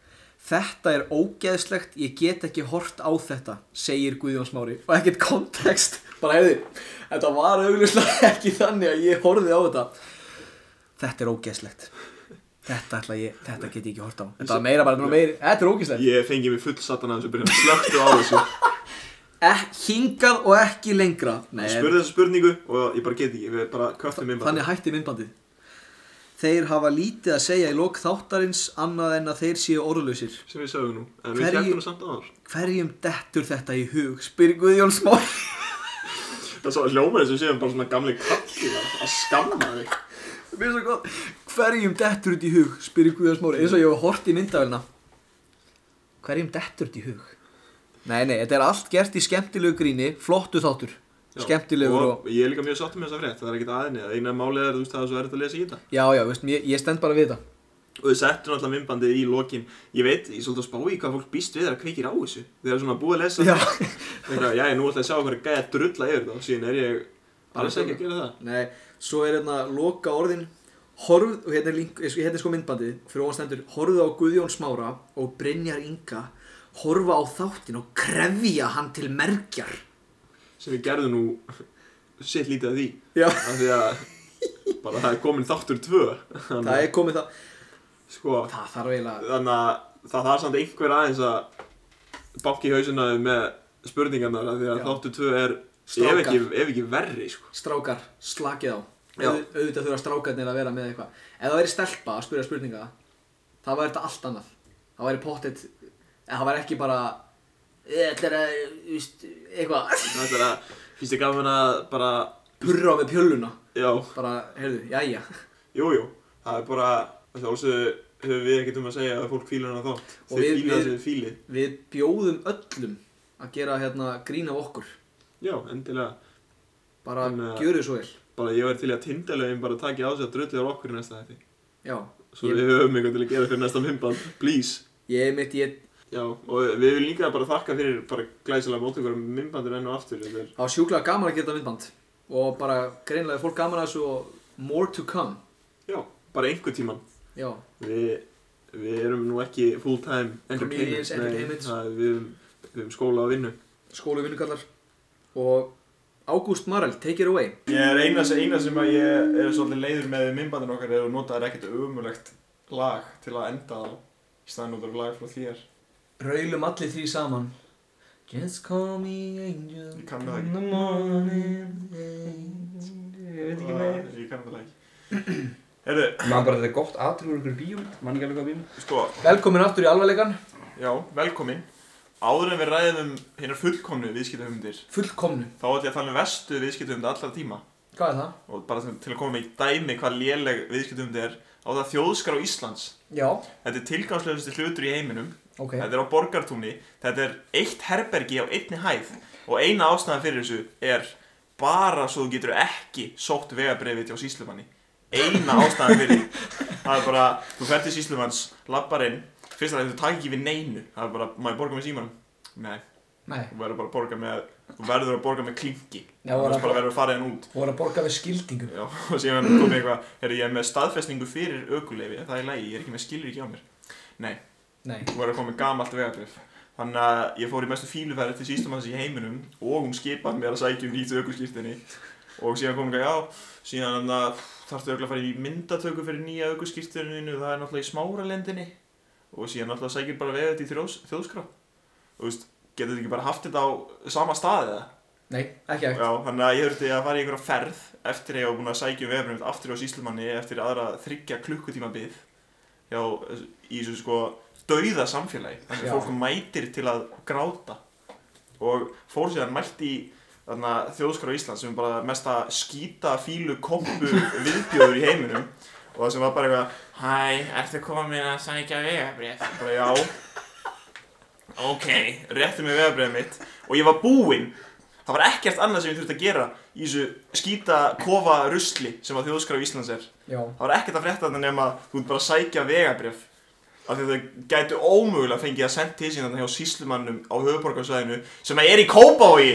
B: þetta er ógeðslegt, ég get ekki hort á þetta segir Guðjón Smári og ekkert kontekst, bara hefði þetta var augljóslega ekki þannig að ég horfið á þetta þetta er ógeðslegt þetta, ætla ég, þetta get ég ekki hort á þetta var meira bara, nú meiri, þetta er ógeðslegt
C: Ég fengi mig full satan af þessu byrjun Slökktu á þessu
B: Ek, hingað og ekki lengra Nei,
C: Spurði þessu spurningu og ég bara get ekki Við bara köttum inn bara
B: Þannig hætti myndbandið. Þeir hafa lítið að segja í lok þáttarins annað en að þeir séu orðlausir.
C: Sem við sögum nú En við
B: Hverju-
C: kæftum nú samt áður
B: Hverjum dettur þetta í hug? Spyr Guðjón Smári.
C: Það er svo hljómar þessu séum bara svona gamli kalli Að skamma þig
B: Mér er svo gott. Hverjum dettur þetta í hug? Spyr Guðjón Smári. Eins og ég hef hort í myndavélina. Hverjum dettur þetta í hug? Nei, nei, þetta er allt gert í skemmtilegu gríni, flottu þáttur.
C: Já,
B: Skemmtilegur og...
C: og Ég er líka mjög sáttum með þessa frétt Það er ekkert aðinni Það eina málið er þú veist það er svo erfitt að lesa í þetta
B: Já, já, veist, ég, ég stend bara við þetta.
C: og þau settu náttúrulega myndbandið í lokin ég veit, ég er svolítið að spá í hvað fólk býst við þegar kveikir á þessu þegar svona búið að lesa
B: Já.
C: eitthvað, já, ég nú ætla ég að sjá hverju gæja drulla yfir það og síðan er ég alls ekki að gera það
B: Nei, svo er hérna loka orðin Horfð, og hérna er, link, hérna er sko myndbandið Fyrir ofan stendur, horfðu á Guðjón Smára og Brynjar Inga
E: horfa á þáttin og krefja hann til merkjar
F: sem við gerðum nú sitt lítið að því
E: Já.
F: af því að bara það er komin þáttur tvö þannig
E: það er komið það
F: að- sko,
E: það þarf eiginlega
F: þannig að það þarf samt einhver aðeins að banki hausinaði með spurningarnar af því að
E: Já.
F: þáttur tvö er ef
E: Strákar.
F: ekki, ef ekki verri sko.
E: strákar, slakið á
F: Já.
E: Auð, auðvitað þurfa strákarnir að vera með eitthvað ef það væri stelpa að spyrja spurninga það væri þetta allt annað það væri pottet það væri ekki bara þetta er að, þú veist, eitthvað
F: þetta er að finnst þið gaman að bara
E: purra á með pjöluna
F: já,
E: bara, heyrðu, jæja
F: jú, jú, það er bara að sjálfsögðu höfum við ekkert um að segja að fólk fílar hana þátt
E: Og
F: þið
E: við-
F: fíla það
E: við-
F: sem þið fílið
E: við bjóðum öllum að gera hérna grín af okkur
F: já, endilega
E: bara
F: En, uh,
E: gjöru svo vel
F: bara ég verð til í að tindalögin bara taki á sig að drullið á okkur í næsta þetta
E: já,
F: Svo
E: Ég-
F: við höfum eitthvað til að gera fyrir næsta myndband, please.
E: ég mitt, ég
F: Já, og við viljum líka bara þakka fyrir bara glæsilega móttökur um myndbandir enn og aftur. Þetta er,
E: það var sjúklega gaman að gera þetta myndband og bara greinlega er fólk gaman að þessu og more to come
F: já, bara einhver tíman.
E: já,
F: Við, við erum nú ekki full-time
E: Comedians,
F: entertainers.
E: entertainments.
F: það, við, höfum, við höfum skóla og vinnu.
E: skólu vinnugallar og Ágúst Marell, take it away
C: Ég er eina, eina sem að ég er svolítið leiður með minnbandin okkar er að þú notaðir ekkert ömulegt lag til að enda þá í staðan notaður lag frá þér
B: Raulum allir því saman Just call me angel
C: Ég kann það ekki.
B: in the morning
D: Ég veit
C: Og Ég kann það ekki Herðu,
D: Man bara þetta er gott aðtrúður ykkur bíómynd, man ekki alveg hvað bíómynd.
C: sko,
B: Velkomin aftur í alvarleikan
C: já, velkomin Áður en við ræðum um hérna fullkomnu viðskiptahugmyndir
B: Fullkomnu
C: þá ætlum ég að tala um vestu viðskiptahugmynd allra tíma
B: Hvað er það?
C: og bara sem- til að koma með dæmi hvað léleg viðskiptahugmynd er á það þjóðskar á Íslands
B: Já,
C: Þetta er tilgangslegusti hlutur í heiminum
B: ok
C: Þetta er á borgartúni, þetta er eitt herbergi á einni hæð og eina ástæðan fyrir þessu er bara svo þú getur ekki sótt vegabrefið hjá síslumanni. Eina ástæðan fyrir því. Það er bara, þú fer til síslumanns, lappar inn, fyrst að þetta takk ekki við neinu. Það er bara, má ég borga með símanum? Nei,
B: Nei,
C: þú verður bara að borga með, þú verður að borga með klinki.
B: Já,
C: þú
B: bara-
C: verður bara að verður að fara henn út.
B: voru að borga við skildingu
C: Já, og síðan komið eitthvað, herri ég er með staðfestningu fyrir ökuleifi, það er lægi, ég er ekki með skilur á mér. Nei,
B: Nei,
C: Þú verður að koma með gamalt vegabrif Þannig að ég fór í mestu fíluferð til sístumanns í heiminum og hún skipað mér að sækja um nýtu aukurskýrtinni og síðan kom hún eitthvað, já, síðan þarf þarftu auðvitað að fara í myndatöku fyrir nýja aukurskýrtininu það er náttúrulega í smáralendinni og síðan náttúrulega sækir bara vega þetta í þjóðs, þjóðskrá og þú veist, getur þetta ekki bara haft þetta á sama staði eða?
B: nei, ekki ekki
C: Já, þannig að ég þurfti að fara í einhverja ferð eftir að ég var búin að sækja um vegabrið mitt aftur á síslumanni eftir aðra þryggja klukkutíma bið já, í þessu sko dauða samfélagi þar sem
B: Já.
C: fólk mætir til að gráta og fór síðan mætt í þarna, þjóðskrá Íslands sem er bara mesta skýta fílu kompu viðbjóður í heiminum og það sem var bara eitthvað Hæ, ertu komin að sækja vegabrið? Bara já Ok, rétti mig vegabriðið mitt og ég var búinn Það var ekkert annað sem ég þurfti að gera í þessu skýta kofa rusli sem að þjóðskrá Íslands er
B: Já,
C: Það var ekkert að frétta þarna nema að þú ert bara að sækja vegabrif af því að þau gætu ómögulega fengið að senda til sín þarna hjá síslumannum á höfuborgarsvæðinu sem að er í Kópavogi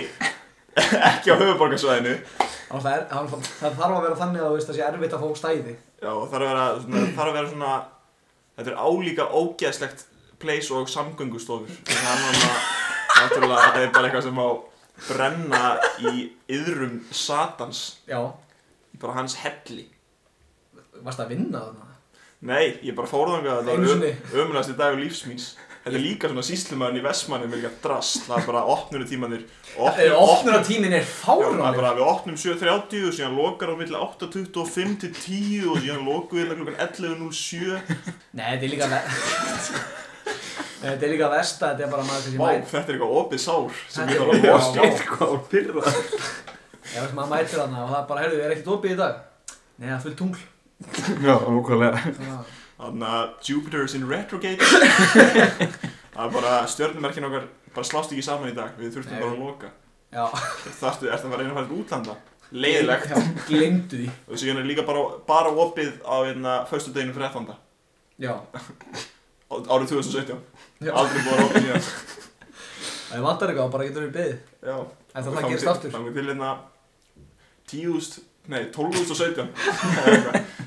C: ekki á höfuborgarsvæðinu
B: það, er, það, það þarf að vera þannig að þú veist það sé erfitt að fá stæði
C: Já, og þarf að vera svona, þarf að vera svona þetta er álíka ógeðslegt place og samgöngustofur þannig að hann var náttúrulega það er bara eitthvað sem á brenna í yðrum satans
B: Já,
C: í bara hans helli
B: varst að vinna þarna?
C: Nei, ég bara fór þangað
B: Einu
C: þetta
B: sinni.
C: var ömulegasti dagur lífs míns Þetta er líka svona síslumæðin í Vestmanni með líka drast, það er bara opnur tímanir
B: Eh, Opnunartíminn er
C: Já, það er
B: fáránlegur
C: bara við opnum 7.30 og síðan lokar á milli 8.25 til 10 og síðan lokum við hérna klukkan 11.07
B: Nei, þetta er líka ve- Nei, Þetta er líka versta, þetta er bara maður sem
C: Vá,
B: mætir
C: þetta er eitthvað opið sár sem ég
B: Þetta
C: þarf
B: er
C: að losa
B: Já.
F: Eitthvað að pyrra.
B: Já, veist, maður mætir þarna og það er bara, heyrðu, er ekkert opið í dag Nei, það er fullt tungl
D: Já, okkarlega.
B: Svona-
C: Þannig að Jupiter is in retrograde Það er bara stjörnumerkin okkar bara slást ekki saman í dag, við þurftum
B: Nei.
C: bara að loka
B: Já,
C: Þarftu, ertu að fara einu að fara til útlanda? Leiðilegt
B: já, glemdu því
C: og síðan er líka bara, bara opið á hérna föstudeginu 13.
B: Já,
C: á- árið 2017
B: já,
C: aldrei búið að vera opið síðan
B: ef þið vantar eitthvað, þá bara getur við beðið
C: já
B: En það, það gerist aftur
C: þannig til hérna 10.000, nei 12.017 Það er eitthvað.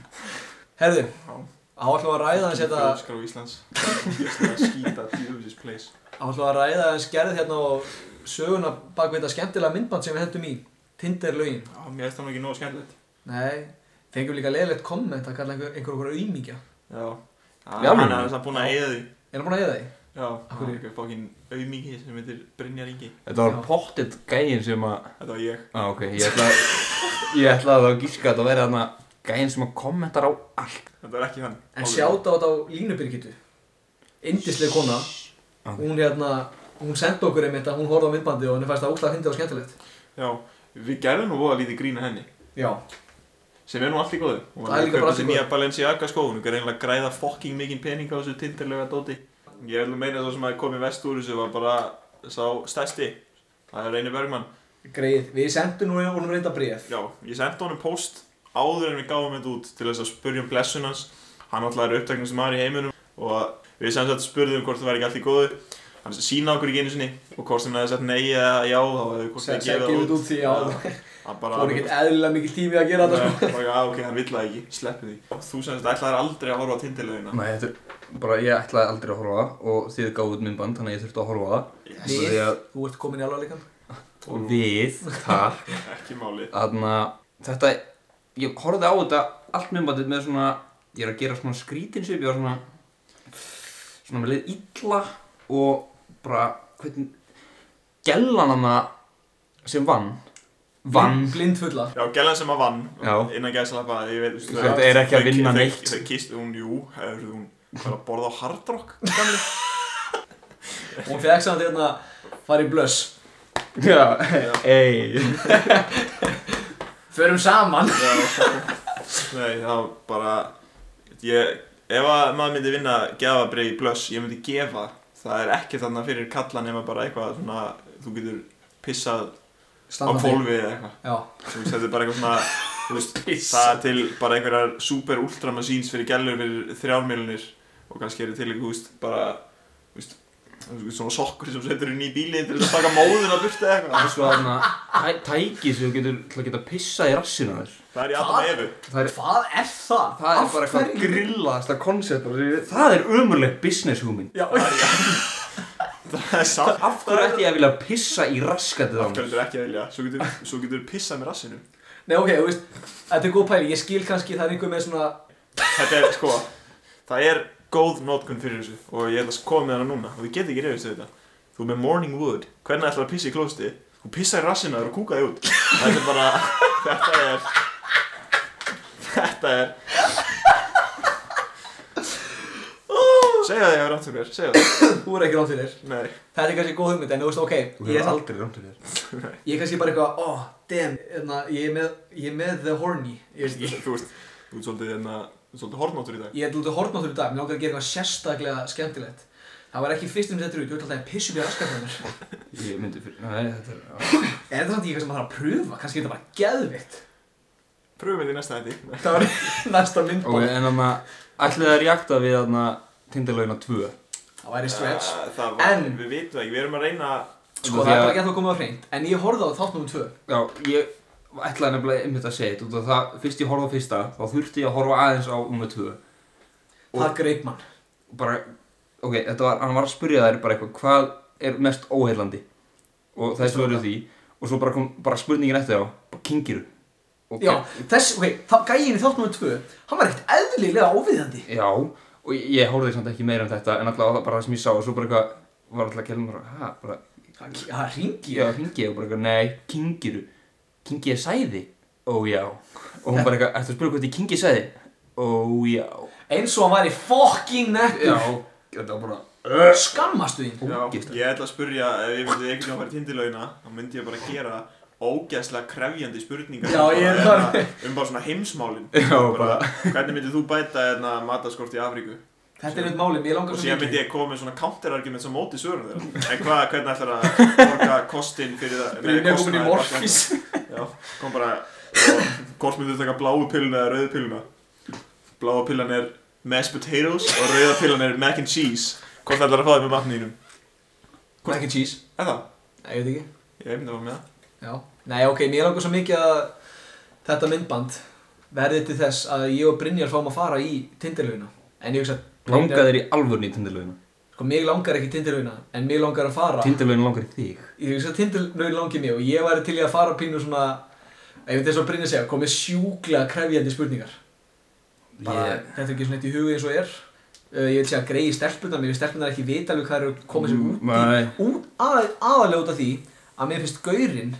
B: Herðu,
C: Já.
B: þá ætlum við að ræða þess þetta
C: Þjóðskrá Íslands Íslands skýta djöfisins place
B: ætlum að ræða aðeins gerð hérna og söguna bak við þetta skemmtilega myndband sem við hendum í Tinder lögin
C: Já, mér finnst það nú ekki nógu skemmtilegt.
B: Nei, fengum líka leiðilegt komment að kalla einhver, einhver okkur auðmíkja
C: Já.
D: Já,
C: Það, hann
D: nú.
C: er það búin að eigða því.
B: Er það búin að eða því?
C: Já,
B: hverju?
C: það er eitthvað fokkin auðmiki sem heitir Brynjar Ingi.
D: Þetta var
B: Já.
D: pottet gæin sem að
C: Þetta var ég.
D: Á, ok, ég ætla Ég ætla að það gíska að það verði þarna gæin sem að kommentar á allt
C: Þetta var ekki hann.
B: En sjáta á þetta á Línubyrgitu Indisleg kona Hún hérna, hún sendi okkur einmitt að hún horfði á myndbandi og henni fæst það óslega að fyndi og skemmtilegt
C: Já, við gerðum nú voða lítið grína henni.
B: Já,
C: Sem er nú allt í góðu. Hún
B: Það er
C: var
B: líka
C: líka
B: bara
C: bara
B: allt í
C: þessi nýja Balenciaga skó. Hún er eiginlega að græða fokking mikinn pening á þessu tindirlega dóti. Ég vil nú meina það sem að komið vest úr þessu var bara sá stæsti. Það er Reynir Bergmann.
B: greið, við sendum nú honum reynda bréf
C: Já, ég sendi honum post áður en við gáðum þetta út til þess að spurja um blessun hans. Hann alltaf er upptaknum sem aðri í heiminum og við sem sagt spurðum hvort það væri ekki allt í góðu. Hann sína okkur ekki einu sinni og hvort sem hann hefði sagt nei eða já, þá hefði hvort
B: sem
C: það
B: sem
C: gefið
B: gefið
C: það
B: út því á
C: Já, Hann
B: Það
C: bara
B: voru ekkert eðlilega mikil tími að gera þetta sko.
C: Nei, bara, já, ok, hann vill það ekki, sleppi því Þú sem þetta ætlaðir aldrei að horfa á tindilegina
D: Nei, þetta er bara, ég ætlaði aldrei að horfa á það og þið gáðu út myndband, þannig að ég þurfti að horfa á það
C: yes,
D: Því
B: Við,
D: að-
B: þú ert komin í alvarleikan
D: og við, þar
C: Ekki máli
D: Þannig þetta, ég horfði á þetta allt myndbandið með svona Ég er að gera svona skrítinsvip, ég var svona Svona með leið illa og bara, hvernig Gellan hana sem vann Vann
B: Blindfulla
C: Já, gælan sem að vann
D: Já.
C: Innan gæðslappa, ég veit þú veist,
D: Þetta
C: þau-
D: er ekki að
C: þau-
D: vinna
C: þau-
D: neitt.
C: Þau kýst, hún, jú, hefur hún bara að borða á hardrock
B: Hún fekk samt hérna fara í blöss
D: Já, ei
B: Förum saman
C: Nei, þá bara ég, Ef að maður myndi vinna gefabrið í blöss, ég myndi gefa Það er ekki þarna fyrir kalla nema bara eitthvað svona, þú getur pissað á kvolfið eða eitthvað
B: Já,
C: Þú veist, þetta er bara eitthvað svona þú veist, það er til bara einhverjar super ultra machines fyrir gælur fyrir þrjármjölunir og kannski eru til eitthvað, þú veist, bara þú veist, þú veist, svona sokkur sem setur inn í bílinn til þess að taka móðuna burti eða eitthvað
D: Það er svo þarna tæ- tæki sem þú getur til að geta pissað í rassinu á þér
C: það er í Adam Evu
D: Það er,
B: hvað er það?
D: það er bara eitthvað grillaðasta koncept Það er umurlegt business hugmynd
B: Já, ok.
C: það er satt
D: Af hverju ætti ég að vilja pissa í raskatið á
C: af hverju
D: mér?
C: þetta er ekki að vilja svo getur, svo getur pissað með rassinu
B: Nei, ok, þú veist, þetta er góð pæli, ég skil kannski það er einhver með svona
C: þetta er sko það er góð nótkunn fyrir þessu og ég ætla að koma með hana núna og þið getur ekki reyðist þetta þú er með morning wood hvernig ætlar að pissa í klósti þú pissa í rassina og kúka þig út þetta er bara þetta er þetta er segja það ég hefur rátt fyrir mér segja það
B: Þú er ekki rátt fyrir
C: nei
B: Þetta er kannski góð hugmynd, en þú veist, ok Ég
D: Þú hefur
B: er, samt-
D: aldrei rámt fyrir þér
B: ég er kannski bara eitthvað, oh, damn hérna, ég, er með, ég er með the horny Ég veist, ég,
C: þú veist þú ert svolítið hérna þú ert svolítið hornóttur í dag
B: ég er lútið hortnáttur í dag Mér langar að gera eitthvað sérstaklega skemmtilegt Það var ekki fyrstum sem þetta er út, ég ætla alltaf að pissu mér askatæmur
D: Ég myndi fyrir, nei þetta er
B: Er þetta samt ekki eitthvað sem maður þarf að pröfa? Kannski er þetta bara geðvikt
C: pröfum við því næsta hætti
B: Það var næsta myndbók
D: Ok, en þarna ætlið það reakta við þarna Tindarlaugina 2
B: Það væri stretch
C: það var
B: En-
C: við vitum það ekki við erum að reyna
B: Sko
D: Því
B: það er
D: að-
B: bara ekki að það komið á hreint En ég horfði á þátt nummer 2
D: Já, ég ætlaði nefnilega einmitt að segja þetta út af það, fyrst ég horfði á fyrsta, þá þurfti ég að horfa aðeins á nummer 2 Og-
B: Það greip mann
D: bara, ok, þetta var, hann var að spyrja þær bara eitthvað, hvað er mest óheilandi og það er svöruð því og svo bara kom, bara spurningin eftir á, bara kingiru og,
B: Já, þess, ok, þá gæin í þátt nummer 2 Hann var ekkert eðlilega óviðandi
D: já, og ég, ég horfði samt ekki meira um þetta en alltaf bara það sem ég sá og svo bara eitthvað, var alltaf að kelma bara, hæ, bara,
B: Það það hringi
D: já, kingi og bara eitthvað, nei, kingiru, kingi er sæði, ó já, og hún bara eitthvað, ertu að spyrja hvort ég kingi sæði, ó já,
B: Eins og hann var í fucking
D: já,
B: nettur
D: þetta var bara,
B: Skammastu þín
C: Já,
D: Ógeðslegt.
C: ég ætla að spurja ef ég myndi einhvern veginn að fara í tindilögina þá myndi ég bara gera ógæslega krefjandi spurningar
B: Já, ég er
C: Bara, hérna, um bara svona heimsmálin
D: Já, bara.
C: hvernig myndið þú bæta hérna, mataskort í Afríku
B: Þetta er eitt máli, mér langar
C: og
B: svo
C: síðan myndi
B: mikið
C: ég koma með svona counter-argument sem móti svörun þeirra en hvað, hvernig ætlar að borga kostin fyrir það nei,
B: Brynja komin í
C: kostnaðinn-
B: morfís
C: Já, kom bara og hvort myndir þú taka bláu pilluna eða rauðu pilluna bláu pillan er mashed potatoes og rauða pillan er mac and cheese hvort ætlar að fá þig með matnýnum
B: Mac and cheese
C: er það?
B: Nei, ég veit ekki
C: Ég myndi að fara með það
B: Já Nei, ok, mér langar svo mikið að Þetta myndband Verði til þess að ég og Brynjar fáum að fara í Tinderlauna En ég hugsa
D: langaðir í alvörni í tindarlaugina
B: Sko, mig langar ekki tindirlauna, en mig langar að fara.
D: Tindalögin langar í þig
B: Ég hugsa að tindirlaun langi mig og ég væri til í að fara pínu svona, ef þetta er svo að brinja segja, komið sjúklega krefjandi spurningar. Bara,
D: Ég-
B: þetta er ekki svona eitt í hugi eins og er. Uh, ég vil segja að greiði stelpunar, mér finnst stelpunar ekki vita alveg hvað eru að koma sér út í.
D: Mm, Nei.
B: Út að- aðalega út af því að mér finnst gaurinn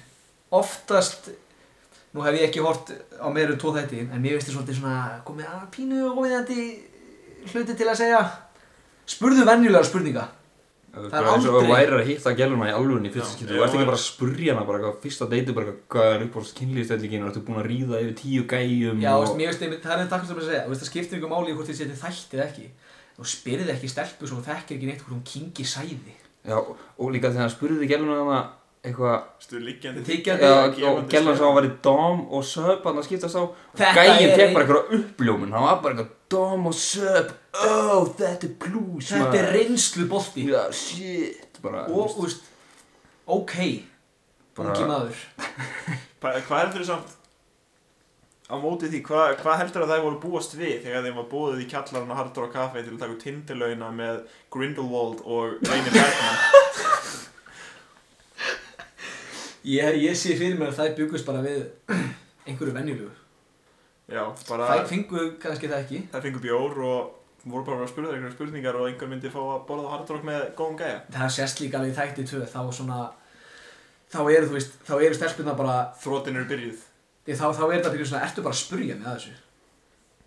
B: oftast, nú hef ég ekki hort á meira en tvo þætti, en mér finnst þið svolítið svona komið að pínu og óviðandi hluti til að segja. Spurðu venjulega spurninga.
D: Það
B: Það er
D: er eins og að
B: aldrei-
D: væri að hitta gæluna í alvöginni fyrsta
C: Já,
D: skipti
C: ég
D: Þú ert
C: væri-
D: ekki bara að spurja hana bara eitthvað, fyrsta deyti bara eitthvað, hvað er uppáhalds kynlýfstællingin og ertu búin að ríða yfir tíu gæjum
B: Já,
D: og...
B: veist, mér veist, einmitt- það er þetta takk sem að segja, þú veist, það skiptir ykkur máli í hvort þið setið þætt eða ekki. Þú spyrðið ekki stelpu svo þú þekkir ekki neitt hvort hún kingi sæði.
D: Já, og- og líka þegar hann spurði gæluna hana eitthvað
C: Stuð liggjandi
B: Þykjandi,
D: Já, og
C: gefandi
D: gælan
C: sér.
D: sá að vera dom og söp hann að skiptast á
B: Þetta
D: gæin
B: er-
D: fekk bara eitthvað uppljómun hann var bara eitthvað dom og söp oh, þetta er blues
B: þetta er reynslu bolti.
D: ja, shit bara,
B: Og, þú veist, ok, ungi maður.
C: Hva- Hvað heldur þið samt á móti því, hvað, hvað heldur að þær voru búast við þegar þeim var búið í kjallarinn á Hard Rock Café til að taka tindilögina með Grindelwald og Reini Bergman
B: Ég, ég sé fyrir mér að þær byggust bara við einhverju venjulegu.
C: Já, bara
B: Þær fengu kannski það ekki.
C: þær fengu bjór og voru bara að spurða þær einhverjar spurningar og einhver myndi fá að borða á Hard Rock með góðum gæja
B: Það sést líka alveg í þætti tvö, þá svona, þá eru, þú veist, þá eru stelpunna bara,
C: Þrótin eru byrjuð
B: ég, þá, þá er þetta fyrir svona, ertu bara að spurja mig að þessu?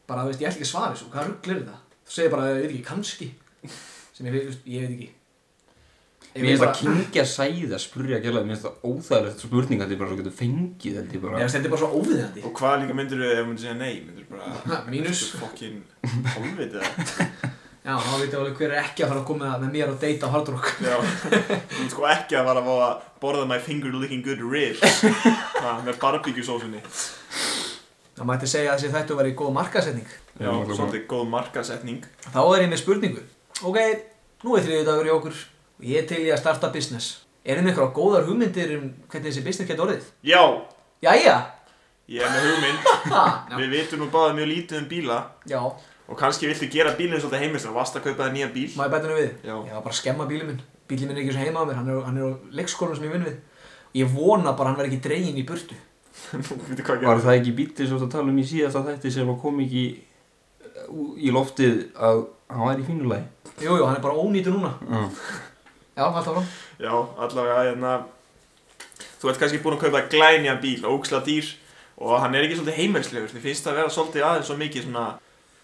B: Bara, þú veist, ég ætla ekki að svara þessu, hvað rugglir það? Þú segir bara, ég veit ekki, kannski, sem ég, þú veist, ég veit ekki. Ég
D: mér finnst
B: bara-
D: það kynkja sæði að spurja gælan mér finnst það óþægilegt spurninga þetta er bara svo getur fengið þetta er
B: Ég
D: bara
B: veist, þetta er bara svo óviðandi.
C: Og hvað líka myndir við ef myndir segja nei, myndir bara
B: Ha, Mínus,
C: Fokkin hálfvitið
B: já, þá veitum alveg hver er ekki að fara að koma með mér og deyta á hardrock.
C: Já, þú ert sko ekki að fara að fá að borða my finger looking good ribs ha, með barbegjusósunni
B: Það mætti segja að þessi þættu væri góð markasetning.
C: Já, svolítið góð markasetning
B: Þá er ég með spurningu. Ok, nú er þriðið dagur hjá okkur og ég er til í að starta business. Erum ykkur á góðar hugmyndir um hvernig þessi business getur orðið?
C: Já,
B: Jæja!
C: ég er með hugmynd
B: Ha, já.
C: Við vitum nú báðið mjög lítið um bíla
B: já,
C: og kannski viltu gera bílinn svolítið heimist og vast að kaupa það nýja bíl
B: má ég bæta henni við?
C: Já.
B: Ég var bara að skemma bílinn minn. Bílinn minn er ekki svo heima á mér, hann er, á- hann er á leikskólanum sem ég vinn við. Og ég vona bara að hann verði ekki dregin í burtu.
C: Þú veitir hvað
D: var
C: gerði
D: það ekki bítið svo að tala um í síðasta þætti sem að kom ekki uh, í loftið að hann væri í fínulagi
B: Jú, jú, hann er bara ónýtu núna.
D: mm.
B: Já, alltaf frá.
C: Já, allavega, hérna Þú ert kannski búin að kaupa glænja bíl, óksla dýr og hann er ekki svolítið heimilslegur þið finnst það að vera svolítið aðeins svo mikið svona,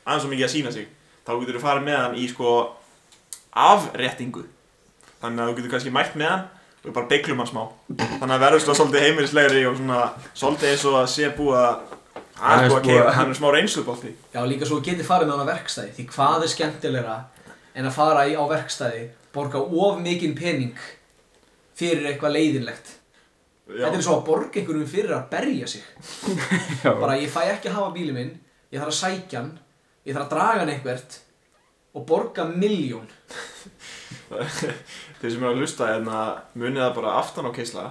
C: aðeins svo mikið að sína sig þá getur þú farið með hann í sko afréttingu þannig að þú getur kannski mætt með hann og bara beiglum hann smá þannig að verður svona svolítið heimilslegri og svona svolítið eins og að sé búið að aðeins búið að keifa hann er smá reynslubolti
B: Já, líka svo þú getur farið með hann á verkstæði. Því hvað er skemmtilegra en að fara í, á verkstæði, borga of mikinn pening fyrir eitthvað leiðinlegt.
C: Já.
B: Þetta er svo að borga einhverjum fyrir að berja sig Bara ég fæ ekki að hafa bílið minn Ég þarf að sækja hann Ég þarf að draga hann eitthvert Og borga miljón
C: þeir sem eru að hlusta hérna munið það bara aftan á keisla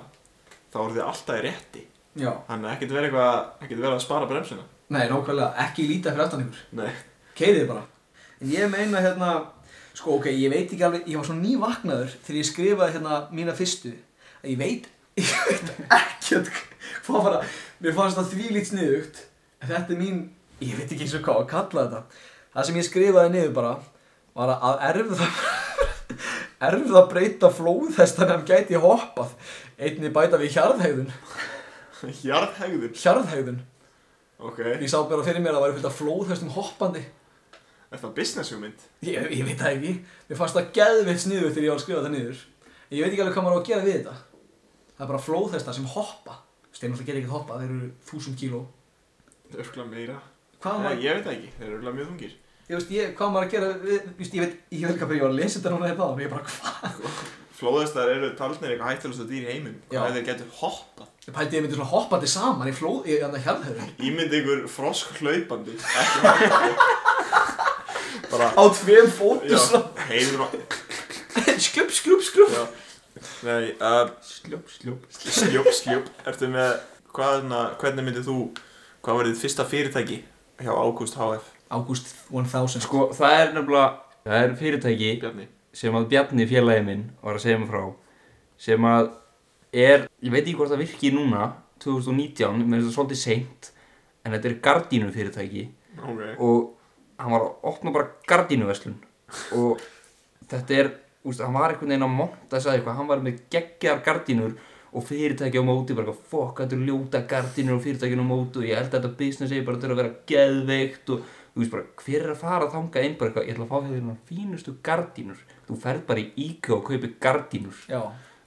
C: þá voru þið alltaf í rétti
B: Já
C: þannig að ekkert verið eitthvað ekkert verið að spara bremsuna
B: Nei, nákvæmlega, ekki líta fyrir aftan ykkur
C: nei
B: Keirið bara En ég meina hérna Sko, ok, ég veit ekki alveg Ég var svo nývaknaður Þegar ég skrifaði hérna mína fyrstu Að ég veit Ég veit ekkert Hvað bara Mér fannst það því lít sniðugt En þetta er mín Ég veit ekki eins og hvað að kalla þetta Það sem ég skrifaði niður bara Var að erfða erfið að breyta flóð þess þannig að hann gæti hoppað einni bæta við hjarðhægðun
C: jarðhegður
B: hjarðhægðun
C: ok
B: ég sá bara fyrir mér að það væri fullt af flóð þessum hoppandi
C: er það business hugmynd
B: ég, ég veit það ekki mér fannst það geðveitt sniður þegar ég var að skrifa það niður en ég veit ekki alveg hvað maður á að gera við þetta það er bara flóð þess það sem hoppa steinur alltaf geta ekki hoppa þeir eru þúsund kíló
C: örgla meira
B: hvað á
C: nei,
B: maður
C: Eh, ég veit það ekki þeir eru örgla mjög þungir
B: ég veist ég hvað á maður að gera við, just, ég veit ég veit ekki hvað ég var að lesa þetta núna hérna áðan og ég bara hvað
C: flóðestar eru talnir eitthvað hættilegsta dýr í heiminum
B: Já.
C: hvað ef þeir getur hoppað
B: ég pældi ég myndi svona hoppandi saman í flóð í hérna hjarðhægðun
C: ímynd ykkur frosk hlaupandi ekki hoppandi bara
B: á tveim fótum
C: já
B: svona.
C: heiður og
B: skrupp skrupp skrupp
C: já nei uh,
D: sljóp, sljóp
C: Sljóp, sljóp Ertu með, hvað, na, hvernig myndið þú Hvað var þitt fyrsta fyrirtæki hjá Ágúst HF?
B: August 1000 sko.
D: Sko, það er nefnilega, það er fyrirtæki
C: Bjarni
D: sem að Bjarni félagi minn var að segja mig frá sem að er, ég veit ekki hvort það virki núna 2019, mér finnst það svolítið seint en þetta er gardínu fyrirtæki
C: Ok.
D: og hann var að opna bara gardínuverslun og þetta er, úst, hann var einhvern veginn að monta að segja eitthvað, hann var með geggjar gardínur og fyrirtæki á móti bara eitthvað, fokk, þetta er ljóta gardínur og fyrirtækin á móti og ég held að þetta business eigi bara til að vera geðveikt og þú veist bara, hver er að fara að þanga inn bara eitthvað, ég ætla að fá þér hérna fínustu gardínur þú ferð bara í IKEA og kaupir gardínur
B: Já,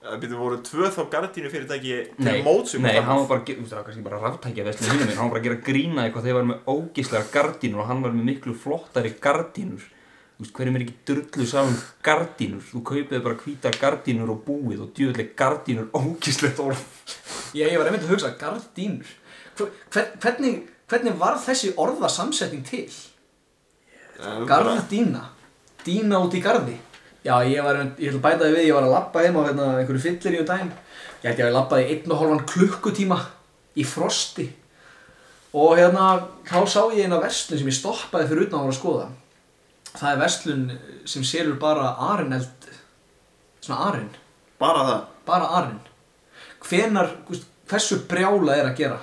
C: Það byrjuðu Eh, voru tvö þá gardínu fyrirtæki til
D: Nei,
C: mótsum
D: nei, hann var bara, að ge- þú veist, það var kannski bara ráttækja vestin hinn minn, hann var bara að gera grína eitthvað þegar hann var með ógislega gardínur og hann var með miklu flottari gardínur Þú veist, hverjum er ekki drullu saman um gardínur, þú kaupið bara hvíta gardínur og búið og djöðlega gardínur ógislegt orð
B: ég, ég var einmitt að hugsa, gardínur Hver- hvern, hvernig, hvernig var þessi orðasamsetning til?
C: Eh, Um
B: Gardína Dína út í gardi Já, ég var, einmitt- ég ætla að bæta því við, ég var að labba heim á hérna, einhverju fyllir í um daginn Ég held ég að labbaði einn og hálfan klukkutíma í frosti Og hérna, þá sá ég eina verslun sem ég stoppaði fyrir utan að voru að skoða Það er verslun sem selur bara arineld Svona arinn
C: Bara það
B: bara arinn hvenar, gúst, hversu brjála er að gera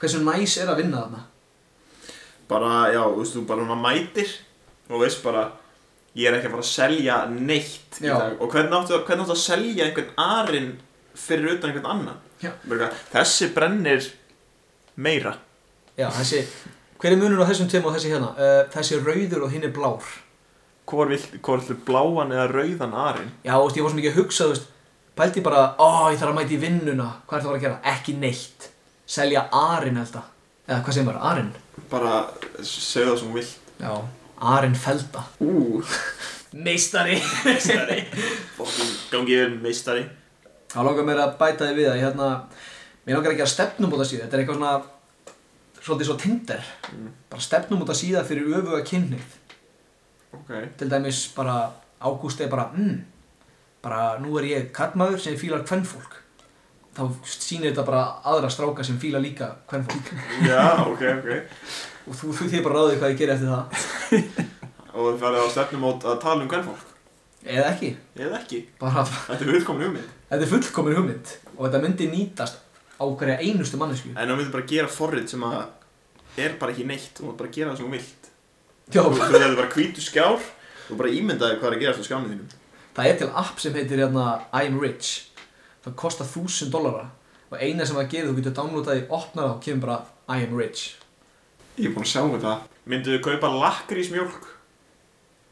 B: hversu næs er að vinna þarna
C: Bara, já, þú veist, þú bara svona mætir og veist bara Ég er ekki að fara að selja neitt í
B: Já.
C: dag Og hvernig áttu, hvernig áttu að selja einhvern arinn fyrir utan einhvern annan
B: Já.
C: Bara, eitthvað, Þessi brennir meira
B: já, þessi, hver er munur á þessum tveim og þessi hérna uh, þessi er rauður og hinn er blár
C: Hvor viltu bláan eða rauðan arinn?
B: já, þú veist, ég var svo mikið að hugsa þú veist, pælti bara, ó, ég þarf að mæta í vinnuna hvað er það að fara að gera, ekki neitt selja arinn elda eða hvað sem bara, arinn
C: Bara segja það sem þú vilt
B: já, arinn felda
C: Ú,
B: meistari
C: fokkin gangi vel meistari
B: þá langar mér að bæta því við að hérna, mér langar ekki að stefnum út að síða, þetta er eitthvað svona svolítið svo tinder bara stefnum út að síða fyrir öfuga kynnið
C: Ok
B: til dæmis bara ágúst er bara mm, bara nú er ég kallmaður sem fílar kvennfólk þá sýnir þetta bara aðra stráka sem fíla líka kvennfólk
C: Já, ok, ok
B: og þú, þú þið bara ráðið hvað ég geri eftir það
C: Og þið farið á stefnumót að tala um kvennfólk
B: eða ekki,
C: Eða ekki
B: bara
C: Þetta er viðkomin hugmynd
B: þetta er fullkomin hugmynd og þetta myndi nýtast á hverja einustu mannesku
C: En þá myndir bara gera forrið sem að er bara ekki neitt Þú mátt bara gera það sem þú vilt
B: Já,
C: Þú veist þetta er bara hvítu skjár og bara ímyndaði hvað er að gerast á skjánum þínum
B: Það er til app sem heitir hérna I am rich Það kostar 1000 dollara Og eina sem það gerir þú getur downloadað í opnað og kemur bara I am rich
C: Ég er búin að sjá um þetta Myndu þið kaupa lakrísmjólk?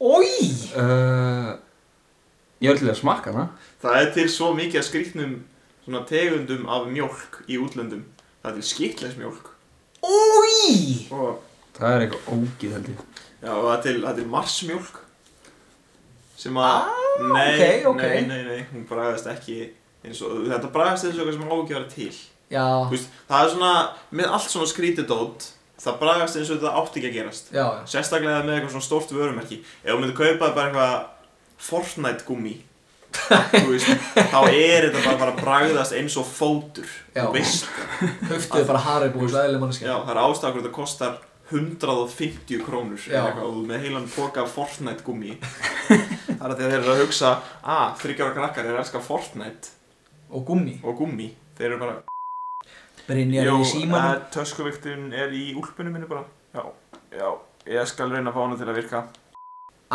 B: Ói!
D: uh, Ég var til að smakka hana
C: Það er til svo mikið að skrýtnum svona tegundum af mjólk í útlöndum Það er til skýtleismjólk
B: Ói!
C: og,
D: Það er eitthvað ógið held ég
C: já, og það er til, það er til marsmjólk sem að nei,
B: Ah, ok, ok.
C: nei, nei, nei, hún bragðast ekki eins og þetta bragðast eins og eitthvað sem á ekki að vera til
B: Já,
C: Þú veist, það er svona, með allt svona skrítidót það bragast eins og þetta átti ekki að gerast
B: já, já
C: sérstaklega með eitthvað svona stórt vörumerki ef þú myndir kaupa bara eitthvað Fortnite gummi þú veist, þá er þetta bara, bara bragðast eins og fótur
B: Já.
C: þú veist, það.
B: Höftuðu bara harið búið svo eðlileg manneskja
C: já, það er ástakur þetta kostar 150 krónur eða
B: Já.
C: eitthvað, og þú með heilan boka af Fortnite gummi það er að þeir eru að hugsa að þryggjara krakkar er að elska Fortnite
B: Og gummi
C: og gummi þeir eru bara
B: Brynjar í símanum
C: eh, töskuviktun er í úlpunum minni bara. Já, já, ég skal reyna að fá hana til að virka.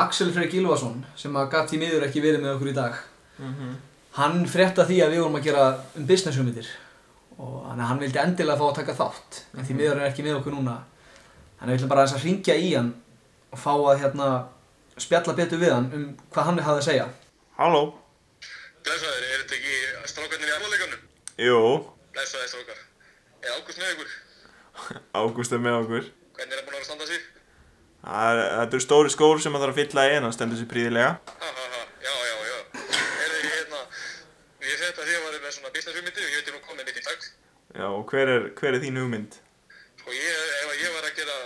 B: Axel Freyr Gilvason sem að gatt í miður ekki verið með okkur í dag
C: Mm
B: Mhm.
C: -hmm.
B: Hann frétta því að við vorum að gera um business hugmyndir og þannig að hann vildi endilega fá að taka þátt en því miður er ekki með okkur núna þannig að við ætlum bara aðeins að ringja í hann og fá að hérna spjalla betur við hann um hvað hann hafði að segja
C: Halló?
G: Blessaður, er þetta ekki strákarnir í afmáleikanum?
C: Jú,
G: Blessaður strákar. Er Ágúst með ykkur?
C: Ágúst er með okkur.
G: Hvernig er hann búinn að vera að standa sig?
C: Það er- Þetta eru stóri skór sem maður þarf að fylla í en hann stendur sér príðilega.
G: Ha ha ha, já já já. Er þið hérna, ég fætti að því að vera með svona business hugmyndi og ég veit ég nú komið mitt í dag.
C: Já, og hver er, hver er þín hugmynd?
G: Sko ég, ef að ég var að gera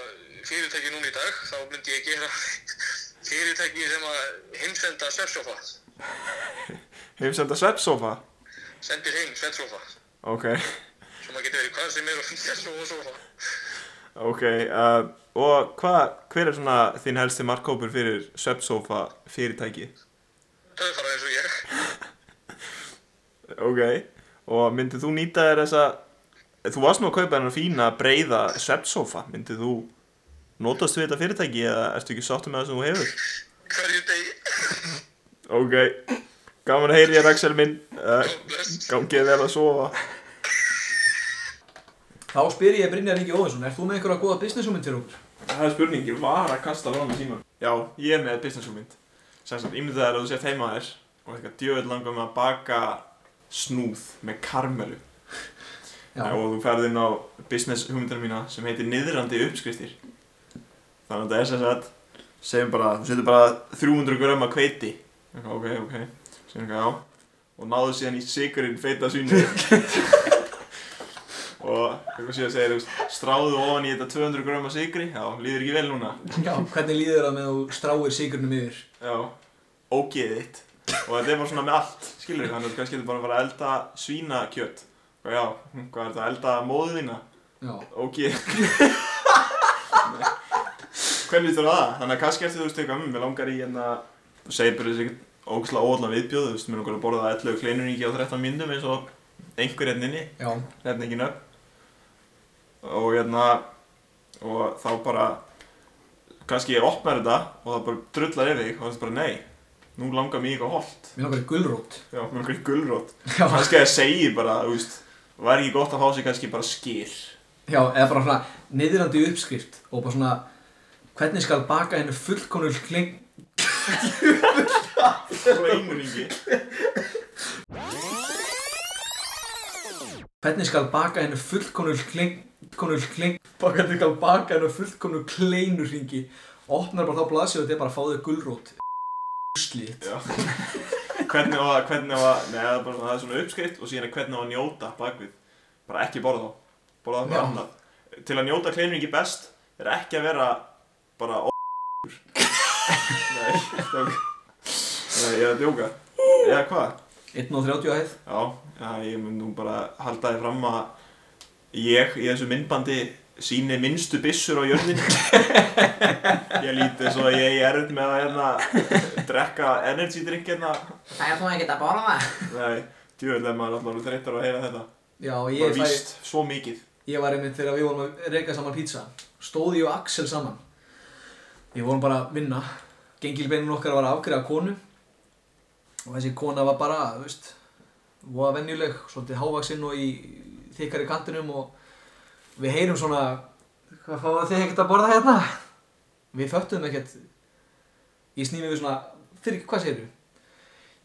G: fyrirtæki núna í dag, þá myndi ég gera fyrirtæki sem að heimsenda svefnsofa.
C: Hefum senda svepsofa?
G: Sendir heim svefnsofa.
C: Ok,
G: Svo maður getur verið hvað sem er og finna svo og sofa.
C: ok. Uh, og hva, hver er svona þín helsti markkópur fyrir svepsofa fyrirtæki?
G: töðfara eins og ég.
C: Ok, og myndið þú nýta þér þessa Þú varst nú að kaupa hennar fína breiða svefnsofa Myndið þú notast við þetta fyrirtæki eða ertu ekki sáttu með það sem þú hefur?
G: Hverju degi.
C: Ok, gaman að heyri þér Axel minn uh,
G: Bless.
C: Gangið vel að sofa
B: Þá spyr ég Brynjar Ingi Óðinsson, er þú með einhverja góða businessúmynd til okkur?
C: Það er spurningi, var að kasta lónum síma Já, ég er með businessúmynd Sæmst, ímyndið þær að þú sért heima þér og eitthvað djöfull langar með að baka snúð með karmelu
B: Já.
C: og þú ferð inn á business hugmyndina mína sem heitir niðrandi uppskriftir þannig að það er sem sagt segjum bara, þú setur bara 300 gram að kveiti Eitthvað, ok, ok, segjum eitthvað já og náðu síðan í sigurinn feita svínu og eitthvað síðan segir þú veist, stráðu ofan í þetta 200 gram að sigri já, líður ekki vel núna
B: Já, hvernig líður það með þú stráir sigurnum yfir?
C: Já, ógeðið þitt Og þetta er bara svona með allt, skilur við Þannig að kannski getur bara að fara að elda svínakjöt Og já, hm, hvað er þetta, elda móðu þína?
B: Já,
C: Ógeðið Nei. Hvernig lítur á það? Þannig að kannski eftir þú veist eitthvað Mér langar í hérna Þú segir bara þessi ógslag óallan viðbjóð Þú veist, mér langar að borða ellu kleinuringi á 13 myndum Eins og einhver hérna inni
B: já,
C: hérna ekki nöfn og hérna og þá bara kannski ég opnar þetta og það bara drullar yfir þig og það er bara nei nú langar mér eitthvað holdt
B: mér langar í gulrót.
C: já, mér langar eitthvað gulrót
B: Já,
C: kannski að ég segi bara, þú veist var ekki gott að fá sér kannski bara skil
B: já, eða bara svona niðurandi uppskrift og bara svona, hvernig skal baka hennu fullkonul kling...
C: og einhvern ekki
B: Hvernig skal baka hennu fullkonul kling... Konul kling... Hvernig skal baka hennu fullkonul kleinur ringi? Opnar bara þá blaðsjóðu og þetta er bara að fá þau gulrót. Úslið.
C: hvernig á að, hvernig á að, nei það er bara svona, það er svona uppskrift og síðan er hvernig á að njóta bakvið bara ekki borða þá borða það
B: Já.
C: bara annað til að njóta kleiningi best er ekki að vera bara ó nei, það nei, ég er að djóka eða hvað
B: 1.30 að hæð.
C: já, já, ég mun nú bara halda þið fram að ég í þessu myndbandi síni minnstu byssur á jörðin ég líti eins og ég er erfitt með að hérna drekka energy drink hérna
H: Það er þú ekki að borða það.
C: Nei, djúvel er maður alltaf þreyttur að heyra þetta
B: Já,
C: Bara
B: ég fæ...
C: víst, svo mikið
B: Ég var einmitt þegar við vorum að reyka saman pizza Stóð ég og Axel saman Við vorum bara að vinna Gengilbeinin okkar var að afgreða konu Og þessi kona var bara, þú veist Voða venjuleg, svolítið hávaksinn og í þykkari kantinum Og við heyrum svona Hvað fáið þið ekkert að borða hérna? Við föttum ekkert Ég sný mig við svona Fyrir, hvað segirðu?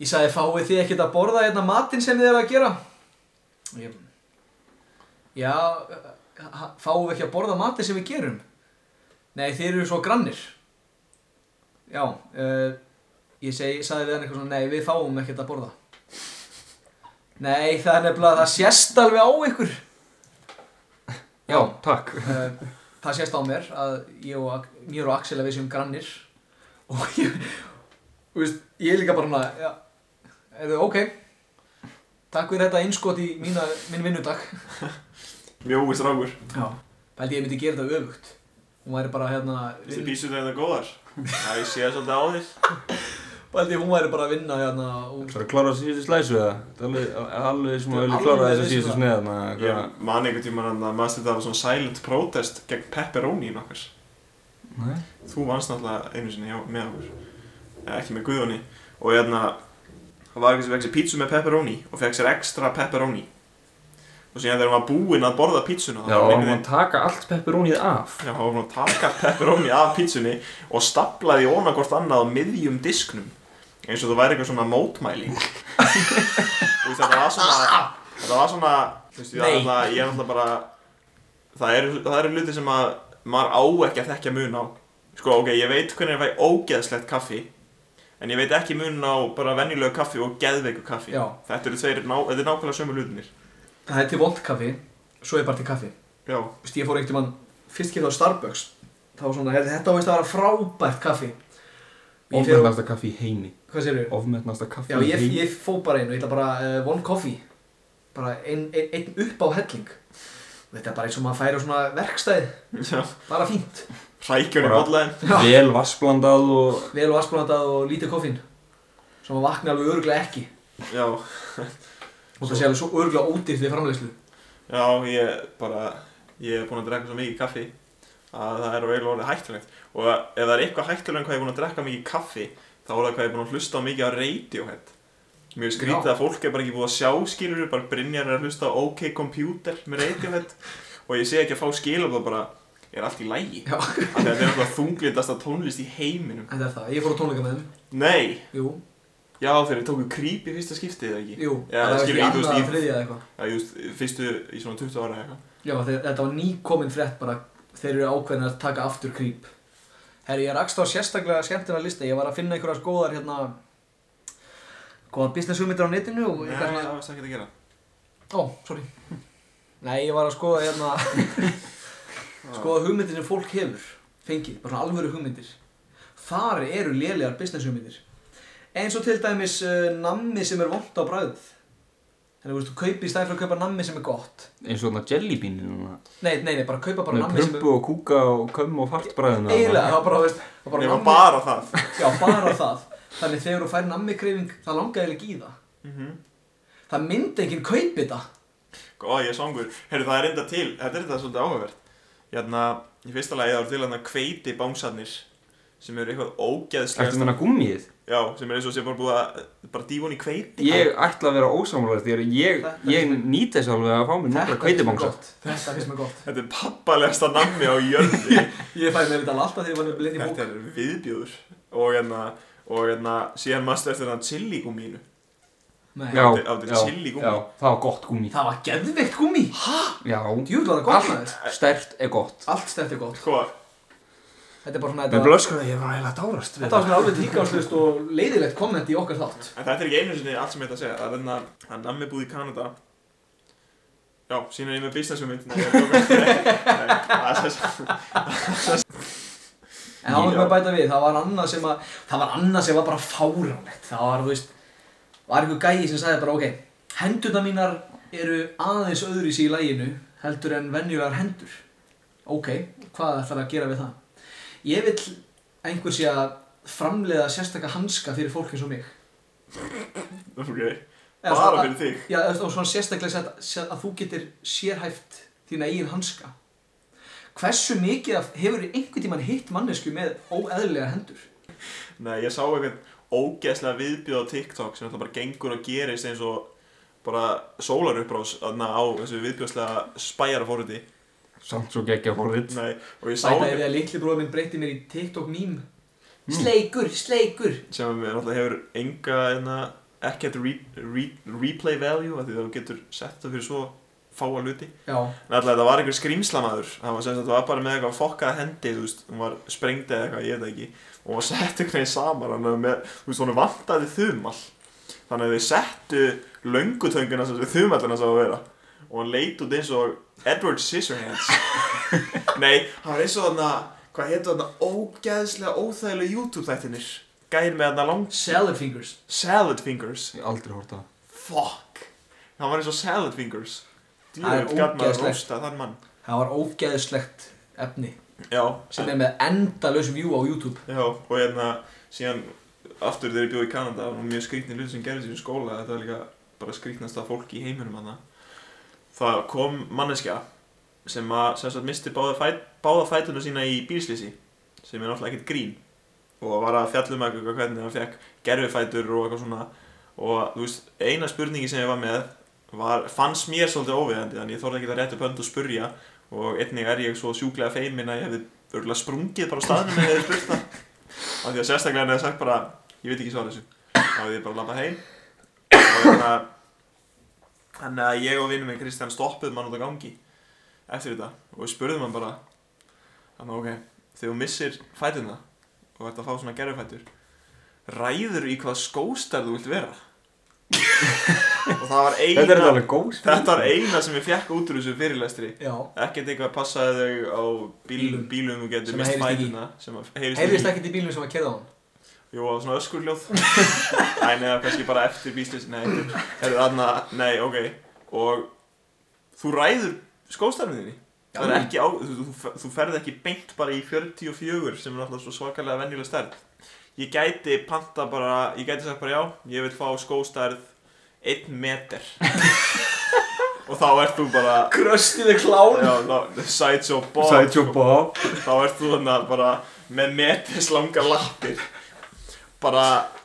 B: Ég sagði, fáið þið ekkert að borða hérna matinn sem þið eru að gera? Og ég, Já, ha- fáum við ekki að borða matið sem við gerum? Nei, þeir eru svo grannir. Já, uh, ég segi, sagði við hann eitthvað svona, nei, við fáum ekkert að borða. Nei, það er nefnilega, það sést alveg á ykkur. Já,
D: takk.
B: uh, það sést á mér að ég og, Ak- mér og Axel að við séum grannir. Og ég, þú veist, ég er líka bara hana, já, er þau ok? Takk fyrir þetta innskot í mína, minn vinnudag.
C: Mjói strákur
B: Já, held ég myndi gera þetta öfugt Hún væri bara hérna
C: Þetta býsur þetta góðar Það ég sé það svolítið á þér
B: Held ég hún væri bara að vinna hérna og...
D: Það er að klára síðustu slæsu eða? Það er alveg, alveg sem að vilja
B: Alveg
D: klára
B: vissu
D: þessu síðustu
B: það.
D: sneið þarna.
C: Ég
D: eitthvað.
C: man einhvern tímann að maður stið það var svona silent protest gegn pepperoni í nokkars
D: Nei.
C: Þú vannst náttúrulega einu sinni hjá, með okkur Eða ekki með Guðjóni Og hérna Það var eitthvað sem fekk sér pítsu með pepperoni Og fekk sér ekstra pepperoni Og síðan þegar hann var búinn að borða pítsuna þá
D: Já,
C: var
D: og
C: einhvern
D: maður
C: veginn-
D: taka allt pepperónið af.
C: Já, hann var búinn að taka pepperoni af pítsunni og staplaði ofan á hvort annað á miðjum disknum eins og það væri eitthvað svona mótmæling Þú veist, þetta var svona þetta var svona þú veist, ég, er
B: Ah! Nei.
C: alltaf, ég er alltaf bara það eru, það eru hluti sem að maður á ekki að þekkja mun á sko, ok, ég veit hvernig ég fæ ógeðslegt kaffi en ég veit ekki mun á bara venjulegu kaffi og geðveiku kaffi
B: Já.
C: þetta eru tveir, ná, þetta er nákvæmlega sömu hlutinir
B: Það er til vondkaffi, svo er bara til kaffi Þú
C: já,
B: veist, ég fór einhvern mann fyrst kemur á Starbucks Þá var svona, heyrðu, þetta áveist að vera frábært kaffi Og ég fer og...
D: Ofmetnasta kaffi í heimi.
B: Hvað sér við?
D: Ofmetnasta kaffi
B: Já,
D: í
B: ég,
D: heimi.
B: ég fó bara einu, ég ætla bara uh, one coffee Bara einn ein, ein upp á helling Og Þetta er bara eins og maður færi á svona verkstæði
C: já
B: Bara fínt
C: rækjunni
D: Bara-
C: bollaðin
D: Vel vassblandað og...
B: Vel og askunandað og lítið koffín sem að vakna alveg örglega ekki
C: Já,
B: og það sé alveg svo örglega ódýrt við framleiðslu
C: já, ég bara, ég er búinn að drekka svo mikið kaffi að það er eiginlega orðið hættulegt og ef það er eitthvað hættulegt en hvað ég er búinn að drekka mikið kaffi þá er það hvað ég er búinn að hlusta á mikið á Radiohead Mér finnst skrítið að fólk er bara ekki búið að sjá skilur bara Brynjar er að hlusta á OK Computer með Radiohead og ég sé ekki að fá skilur það bara, er allt í lægi
B: Já.
C: Þetta er eitthvað þunglindasta tónlist í heiminum
B: en það er það, ég fór á tónleika með þeim
C: Nei,
B: jú,
C: já þegar ég tóku creep í fyrsta skiptið eða ekki
B: jú,
C: Já,
B: það var
C: skilur,
B: ekki
C: ég, þú veist,
B: annað
C: ég-
B: að þriðja eða eitthvað
C: Já, ég veist, fyrstu í svona 20 ára eða eitthvað
B: já, þeir, þetta var nýkomin frétt bara þeir eru ákveðin að taka aftur krýp herri, ég rakst á sérstaklega skemmtilega lista ég var að finna einhverjar góðar hérna góðar business hugmyndir á netinu og
C: Nei,
B: eitthvað
C: það
B: svona-
C: varst ekki að gera
B: Ó, sorry Nei, ég var að skoða hérna skoða hugmyndir sem fólk hefur fengið, bara svona alvöru hugmyndir Þar eru lélegar business hugmyndir eins og til dæmis uh, nammi sem er vond á bræðið Þannig að þú kaupi í stæðin fyrir að kaupa nammi sem er gott
D: Eins og þarna jellybínin núna.
B: Nei, nei, nei, bara kaupa bara
D: Með
B: nammi sem er
D: prumpu og kúka og kömm og fartbræðina.
B: Eiginlega, það var bara, veist það var bara
C: Ég var
B: nammi,
C: bara það
B: já, bara það Þannig þegar þú fær nammi kreifing, það langaði ekki í það Það myndi enginn kaupi það
C: Sko, Ó, ég er songur Herru, það er enda til, þetta er þetta svolítið áhugavert Hérna, í fyrsta lagi það eru til hérna kveiti bánsarnir sem eru eitthvað
D: Eftir
C: ógeðslegast
D: meina gúmmið.
C: Já, sem er eins og sem bara búið að bara dýfa hún í kveiti
D: Ég ætla að vera ósamlega því að ég,
B: Þetta-
D: ég nýt þess alveg að fá mér nokkra kveitibangsa.
B: Þetta finnst mér gott
C: Þetta er pappalegasta nammi á jörði
B: Ég fæði með þetta alltaf þegar ég var með blind í bók
C: Þetta er viðbjóður Og hérna, og hérna, síðan maður eftir hérna chili-gúmínu
B: Nei.
D: Já,
C: Þetta- þetta er
D: já,
C: chili gúmmí.
D: já, það var gott gúmi.
B: Það var geðveikt gúmi
D: Já,
B: Djúvill var það gott maður
D: stert er gott.
B: Allt stefnt er gott
C: Sko,
B: Þetta er bara svona
D: Með
B: þetta,
D: blöskraði ég var eiginlega dárast
B: þetta var svona alveg tíkáslust og leiðilegt komment í okkar þátt
C: En þetta er ekki einu sinni allt sem ég ætla að segja. Það er hérna, það er nammi búið í Kanada. Já, síðan er ég með business hugmynd. Nei, ég er að djóka. Nei, það er sem-
B: En það var með að bæta við Það var annað sem að Það var annað sem var bara fáránlegt Það var, þú veist Var einhver gæi sem sagði bara ok Hendurna mínar eru aðeins öðruvísi í læginu Heldur en venjulegar hendur Ok, hvað ætlar að gera við það? Ég vil einhver sé að framleiða sérstaka hanska fyrir fólk eins og mig
C: Ok,
B: Eða
C: bara
B: svona-
C: fyrir þig.
B: Já, og svona sérstaklega sett- sett að þú getur sérhæft þína eigin hanska. Hversu mikið af, hefur einhvern tímann hitt mannesku með óeðlilega hendur?
C: Nei, ég sá eitthvað ógeðslega viðbjóð á TikTok sem þetta bara gengur og gerist eins og bara sólaruppbrás þarna á þessu viðbjóðslega spæjarafóruði.
D: Samt svo geggja forðið.
C: Nei, og ég sá
B: Sæta er því
C: eitthvað
B: að litli bróður minn breytti mér í TikTok mím.
C: Mm.
B: Sleikur, sleikur.
C: sem að mér náttúrulega hefur enga, hérna, ekkert re re replay value af því að þú getur sett það fyrir svo fáa hluti.
B: Já,
C: Nærlega þetta var einhver skrýmslamaður Það var sem sagt, það var bara með eitthvað fokkað hendi Þú veist, hún var sprengd eða eitthvað, ég veit það ekki Og hún var sett einhvern veginn saman Þannig að með, þú veist, hún vantaði þumall Þannig að þau settu löngutönguna sem þumallina sá að vera Og hann leit út eins og Edward Scissorhands Nei, hann var eins og þarna Hvað heitir þarna ógeðslega óþægilega YouTube þættinir Gæðir með þarna langt
B: salad fingers.
C: Salad fingers
D: Ég hef aldrei horta það.
C: Fuck Hann var eins og salad fingers
B: Það er
C: Djúið gæt maður
B: ógeðslegt.
C: rosta þann mann
B: Það var ógeðslegt efni
C: Já,
B: sem er með endalaus view á YouTube.
C: Já, og hérna, síðan aftur þegar ég bjóð í Kanada og mjög skrýtni hlut sem gerðist í þessum skóla þetta var líka bara skrýtnasta fólk í heiminum hana. það kom manneskja sem að sem sagt misti báða, fæt, báða fætuna sína í bílslýsi sem er náttúrulega ekkert grín og var að fjallum eitthvað hvernig hann fekk gerfifætur og eitthvað svona og þú veist, eina spurningi sem ég var með var, fannst mér svolítið óviðandi þannig ég þorði ekki að rétta upp hönd og spurja og einnig er ég svo sjúklega feimin að ég hefði örgulega sprungið bara á staðnum eða hefði spurt það Af því að sérstaklega hann hefði sagt bara Ég veit ekki svara þessu Þá hefði ég bara labbað heim Og hérna Þannig að ég og vinnum minn Kristján stoppuðum hann út á gangi Eftir þetta Og við spurðum hann bara Þannig ok Þegar þú missir fætuna Og ert að fá svona gerðufætur Ræður í hvaða skóstarð þú vilt vera Og það var eina
D: Þetta er alveg góð.
C: Þetta var eina sem ég fekk út úr þessu fyrirlestri
B: Já.
C: Ekkert eitthvað passaði þau á bílum,
B: Bílum.
C: bílum og getur
B: Sem
C: mist
B: heyrist ekki.
C: fætuna sem að heyrist
B: Heyrðist ekkert í bílunum sem að kerða á hann.
C: Jú, það var svona öskurljóð Nei, neða, kannski bara eftir bíslis Nei, er þarna, nei, ok Og þú ræður skóstarfinu þinni Það er ekki á, þú, þú, þú ferð ekki beint bara í 44 sem er alltaf svo svakalega venjuleg stærð ég gæti panta bara, ég gæti sagt bara já, ég vil fá skóstærð 1 meter og þá ert þú bara
B: Kröstiði klán
C: já, þá, sideshow bob
D: Sideshow Bob
C: þá ert þú þarna bara með metis langa lappir bara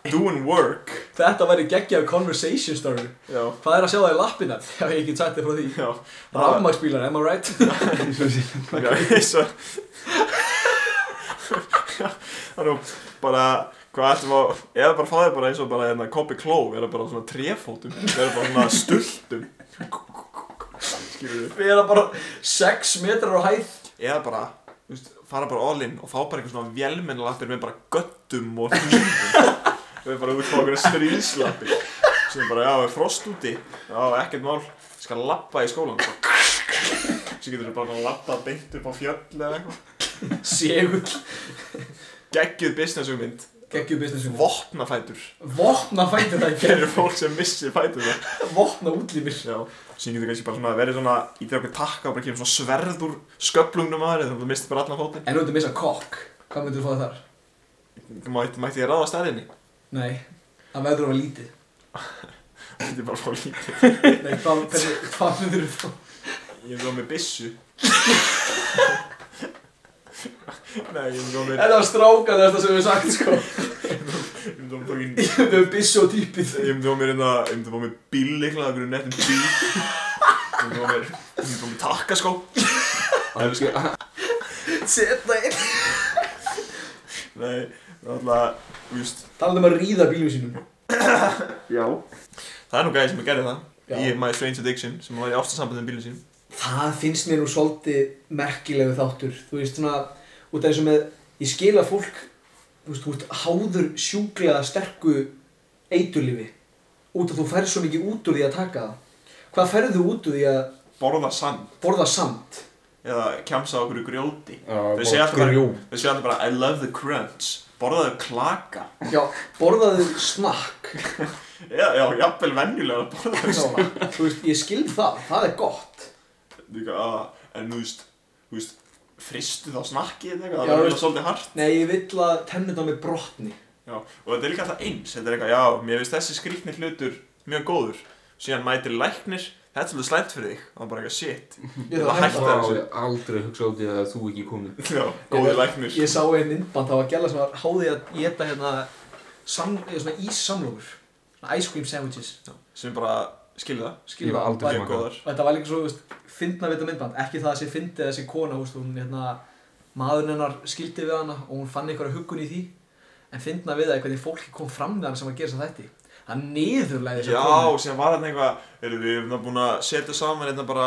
C: doing work
B: Þetta væri geggjaðu conversation story
C: já,
B: Hvað er að sjá það í lappina? Já, ég get sagt þér frá því
C: já,
B: Rafmagsbílar, am I right?
C: já, ég svo þannig bara hvað ætlum að, eða bara fá þér bara eins og bara hérna Kobe Kló, vera bara á svona trefótum vera bara svona stultum skilur við
B: Við erum bara 6 metrar á hæð
C: eða bara, þú veist, fara bara all in og fá bara eitthvað svona vélmennalapir með bara göttum og hlýðum við bara út fá okkur stríðslapir sem bara, já, er frost úti já, ekkert mál, ég skal lappa í skólan bara, svo getur þú bara að lappa beint upp á fjöll eða eitthvað
B: Segull
C: geggjuð businessugmynd,
B: Geggjaðu business
C: vopnafætur
B: Vopna fætur það ekki
C: fyrir fólk sem missir fætur það
B: Vopna útlýmir
C: já, sem getur kannski bara svona verið svona í okkur takka og bara kemur svona sverð úr sköflungnum að þér þannig að þú mistir bara allan fótinn
B: En þú ert að missa kokk Hvað myndir þú fá þar?
C: mætti, mætti ég ráða stærðinni
B: Nei, það verður að vera lítið
C: þetta er bara fólk í
B: Nei, hvað, hvernig, hvað myndir þú fá?
C: Ég er svo með byssu Nei, ég er svo með
B: Þetta var strákan þetta sem við sagt sko
C: Ég er svo með
B: Ég hefði byssu og típið
C: Ég er svo með hérna Ég er svo með bíl eitthvað Akkur er nettum bíl Ég er svo með Ég er svo með takkaskó
B: Setna inn
C: Nei, það er alltaf Þú veist
B: Talandi um að ríða bílum sínum
C: Já Það er nú gæði sem að gera
B: Já.
C: það Í My Strange Addiction Sem var í ástasambandi með bílinn sín
B: Það finnst mér nú svolítið merkilegu þáttur Þú veist svona Út af eins og með Ég skil að fólk Þú veist, þú ert háður sjúklega sterku eiturlifi Út af þú færð svo mikið út úr því að taka það Hvað færðu út úr því að
C: Borða sand
B: borða samt?
C: Eða kjamsa okkur í grjóti
D: Já,
C: Þau
D: bara
C: segja alltaf bara
D: grjó.
C: Þau segja alltaf bara I love the crunch Borðaðu klaka
B: Já, borðaðu snakk
C: Já, já, jafnvel venjulega Borðaðu
B: Já, Þú veist, ég skil það, það er gott
C: Líka, að, en þú veist, þú veist, fristu þá snakkið eða
B: Já,
C: eitthvað, það
B: þú
C: verður
B: veist.
C: svolítið hart.
B: Nei, ég vill að tennið á mig brotni
C: Já, og þetta er líka alltaf eins, þetta er eitthvað, já, mér finnst þessi skrýtni hlutur mjög góður. Síðan mætir læknir, þetta er svolítið slæmt fyrir þig, og það er bara eitthvað shit.
B: Ég
C: Það hættar
D: Það
C: þessu.
D: er aldrei hugsað út í það að þú ekki komið
C: Já, góði læknir.
B: Ég sá einn innband, það var gæla sem var háði að geta hérna sam, eða svona íssamlókur svona ice cream sandwiches
C: Sem bara, skilja það,
D: Ég
B: skilur
D: var
B: það
D: aldrei
B: var-
C: mjög
D: smakað.
C: góðar.
B: og þetta var líka svo, þú veist, fyndna við þetta myndband ekki það að sé fyndi þessi kona, þú veist, hún hérna maðurinn hennar skildi við hana og hún fann einhverja huggun í því en fyndna við það hvernig fólki kom fram við hana sem að gera þess að þetta það niðurlega þess
C: Já, síðan var þetta eitthvað, erum við erum það búin að setja saman þetta bara,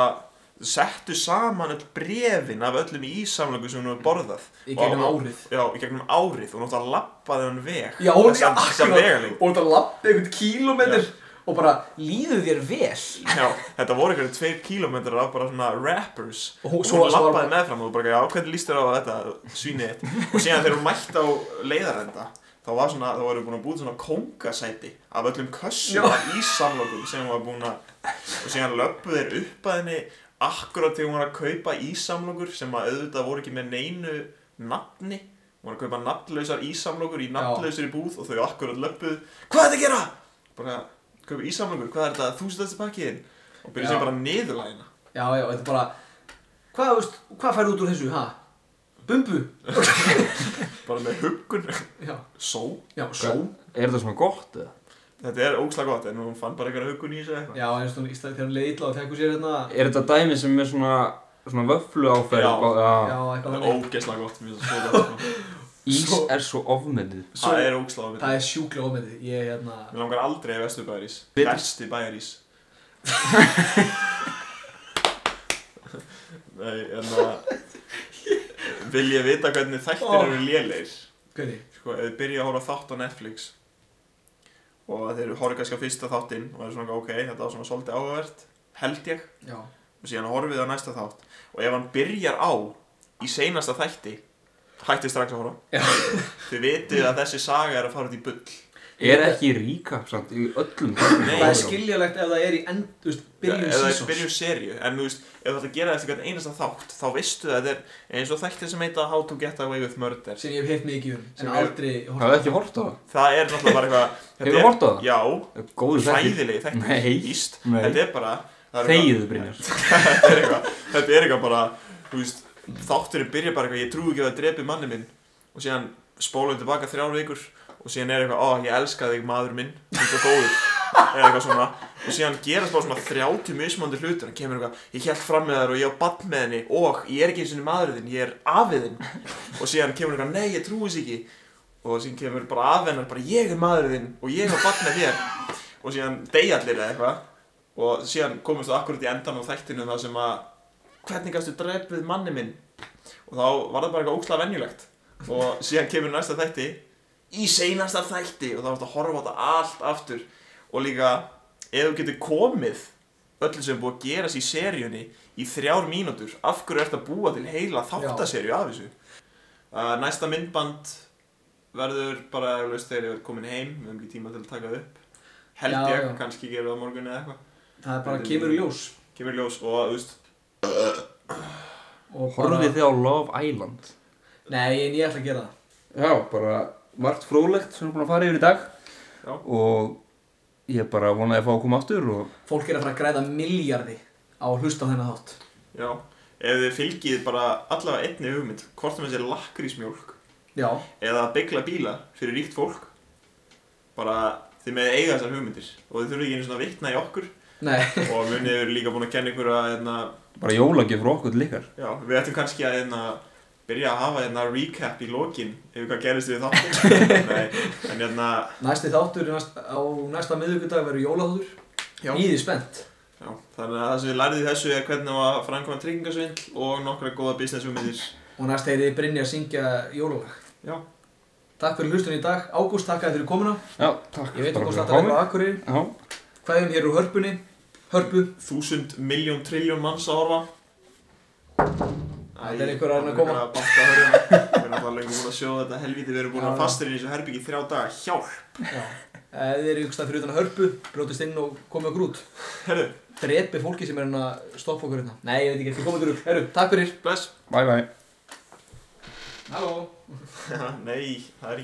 C: settu saman öll brefin af öllum ísamlöku sem hún hefur borðað.
B: Í gegnum
C: Og-
B: árið.
C: Já, í gegnum árið, og náttúrulega lappaði hann veg.
B: Já, hún er
C: Þessa- þessa
B: akkurat
C: vegalengd.
B: og þetta lappi einhvern kílómetr og bara líður þér vel
C: Já, þetta voru einhverju tveir kílómetrar af bara svona rappers
B: Og
C: og
B: hún-
C: hún
B: svo- svo var
C: lappaði
B: bara-
C: meðfram og þú bara, já, hvernig líst þér á þetta svínið þitt og síðan þegar hún mætti á leiðarenda þá var svona, þá voru búin að búið svona kóngasæti af öllum kössum af ísamlokum sem hún var búin að og síðan löppu þeir upp að henni akkurat þegar hún var að kaupa ísamlokur sem að auðvitað voru ekki með neinu nafni hún var að kaupa nafnlausar ísamlokur í nafnlausir búð og þau akkurat löppuð hvað er þetta að gera? bara, kaupa ísamlokur, hvað er þetta, þúsundast pakkiðin og byrja sem bara niðurlægina
B: Já, já, þetta er bara Hvað, veist, hvað færðu út úr þessu, ha? Bumbu?
C: bara með huggun
B: Já,
C: só,
B: já, svo
D: Er þetta svona gott eða?
C: þetta er ógslag gott en hún fann bara eitthvað huggun í þessu eða eitthvað
B: Já, eins og hún í staði þegar hún leiði illa og fekk hún sér hérna
D: Er þetta dæmi sem er svona, svona vöflu áferð?
C: Já.
B: Já, eitthvað
C: það
B: þannig
C: er ógeðslega gott, mér finnst það svo gott sko.
D: Ís
B: Svo-
D: er svo ofmennið
B: Svo-
C: það er ógslag gott
B: Það er sjúklega ómyndið, ég er hérna
C: mér langar aldrei að vestu bæjarís
D: Við-
C: versti bæjarís nei, en að vil ég vita hvernig þættir
B: Ó.
C: eru lélegir
B: Hvernig?
C: sko, ef þið byrja að horfa á þátt á Netflix og þeir eru horfið kannski á fyrsta þáttinn og er svona ok, þetta var svona svolítið áhugavert held ég,
B: Já
C: og síðan horfið á næsta þátt og ef hann byrjar á í seinasta þætti hættið strax að horfa
B: Já.
C: þið vitið að þessi saga er að fara út í bull
D: Er ekki ríka samt í öllum þáttum?
C: Nei.
B: það er skiljalegt ef það er í end, þú veist, byrjun
C: eða
B: sísons
C: byrjun seríu en þú veist, ef þú ætlar að gera þetta eitthvað einasta þátt þá veistu það, þetta er eins og þættir sem heita How to get away with murder
B: sem ég hef heitt mikið um
C: Sem
B: en
C: ég-
B: aldrei horft
D: Það er ekki hort á það.
C: það er náttúrulega bara eitthvað þetta
D: Hefurðu
C: er-
D: horft á það?
C: Já,
D: Það er Góður þættir.
C: hræðilegi þættir,
D: Nei.
C: víst
D: Nei.
C: þetta er bara það er eitthvað-
D: Þegiðu Brynjar.
C: þetta er eitthvað, þetta er eitthvað bara, þú veist, þátturinn byrja bara eitthvað, ég trúi ekki að það drepi manni minn og síðan spólum við tilbaka þrjár vikur og síðan er eitthvað, ó, ég elska þig maður minn, þú ert svo góður, eða eitthvað svona og síðan gerast bara svona 30 mismandi hlutur, hann kemur eitthvað, ég held fram með þær og ég á bann með henni og ég er ekki eins og maður þinn, ég er afið þinn og síðan kemur eitthvað, nei, ég trúi þess ekki og síðan kemur bara af hennar, bara ég er maður þinn og ég á bann með þér og síðan deyja allir eða eitthvað og síðan komumst við akkurat í endan á þættinu það sem að hvernig gæstu drefið manni minn og þá var það bara eitthvað ókslega venjulegt og síðan kemur næsta þætti í seinasta þætti og þá varst að horfa á þetta allt aftur og líka ef þú getur komið öllu sem er búið að gerast í seríunni í þrjár mínútur af hverju ert að búa til heila þáttaserju af þessu uh, næsta myndband verður bara eflaust þegar ég verð komin heim við höfum ekki tíma til að taka það upp held
B: Já,
C: ég,
B: já.
C: kannski gerum við það á morgun eða eitthvað
B: það er bara kemur í ljós
C: kemur í ljós og þú veist
B: og bara,
D: Horfið þið á Love Island?
B: nei en ég ætla að gera það
D: Já, bara margt fróðlegt sem við erum búin að fara yfir í dag.
C: Já.
D: Og ég bara vonaði að fá að koma aftur og
B: fólk er að fara að græða miljardi á að hlusta á þennan þátt
C: já, ef þið fylgið bara allavega einni hugmynd hvort það með sér lakkrísmjólk
B: já,
C: eða að byggla bíla fyrir ríkt fólk bara þið með eiga þessar hugmyndir og þið þurfið ekki einu svona að vitna í okkur
B: nei
C: og munið eru líka búin að kenna ykkur að hérna,
D: bara jólagjöf frá okkur til ykkar.
C: já, við ættum kannski að hérna, byrja að hafa hérna, recap í lokin ef hvað gerist við þáttum Nei, en hérna,
B: næsti þáttur er næst, á næsta miðvikudag verður jólaþáttur
C: Já.
B: nýði spennt
C: já, þannig að það sem við lærið í þessu er hvernig á að framkvæma tryggingasvindl og nokkra góða business hugmyndir
B: og næst heyrið Brynja að syngja jólalag
C: já,
B: takk fyrir hlustun í dag, Ágúst takk að þér fyrir komuna
D: Já, takk.
B: ég veit
D: bara
B: að komst
D: fyrir
B: alltaf
D: að
B: eitthvað
D: koma.
B: á Akureyri
D: Já.
B: hvað er hér úr hörpunni, hörpu
C: þúsund, miljón, trilljón manns að horfa
B: Þetta er einhver annar að koma.
C: Það er einhver að banka að hörðina Við erum alltaf lengur búin að sjóða þetta helvíti Við erum búin
B: Já.
C: að fastir í þessu herbyggi í þrjá daga Hjálp
B: Já. Ef Eh, þið eru ykkur stað fyrir utan að hörpu, brjótist inn og komið okkur út.
C: Herðu,
B: Drepi fólki sem er hann að stoppa okkur hérna. Nei, ég veit ekki, þið komið okkur út. Herru, takk fyrir.
C: bless
D: Bye bye.
B: Halló.
C: Nei, það er ekki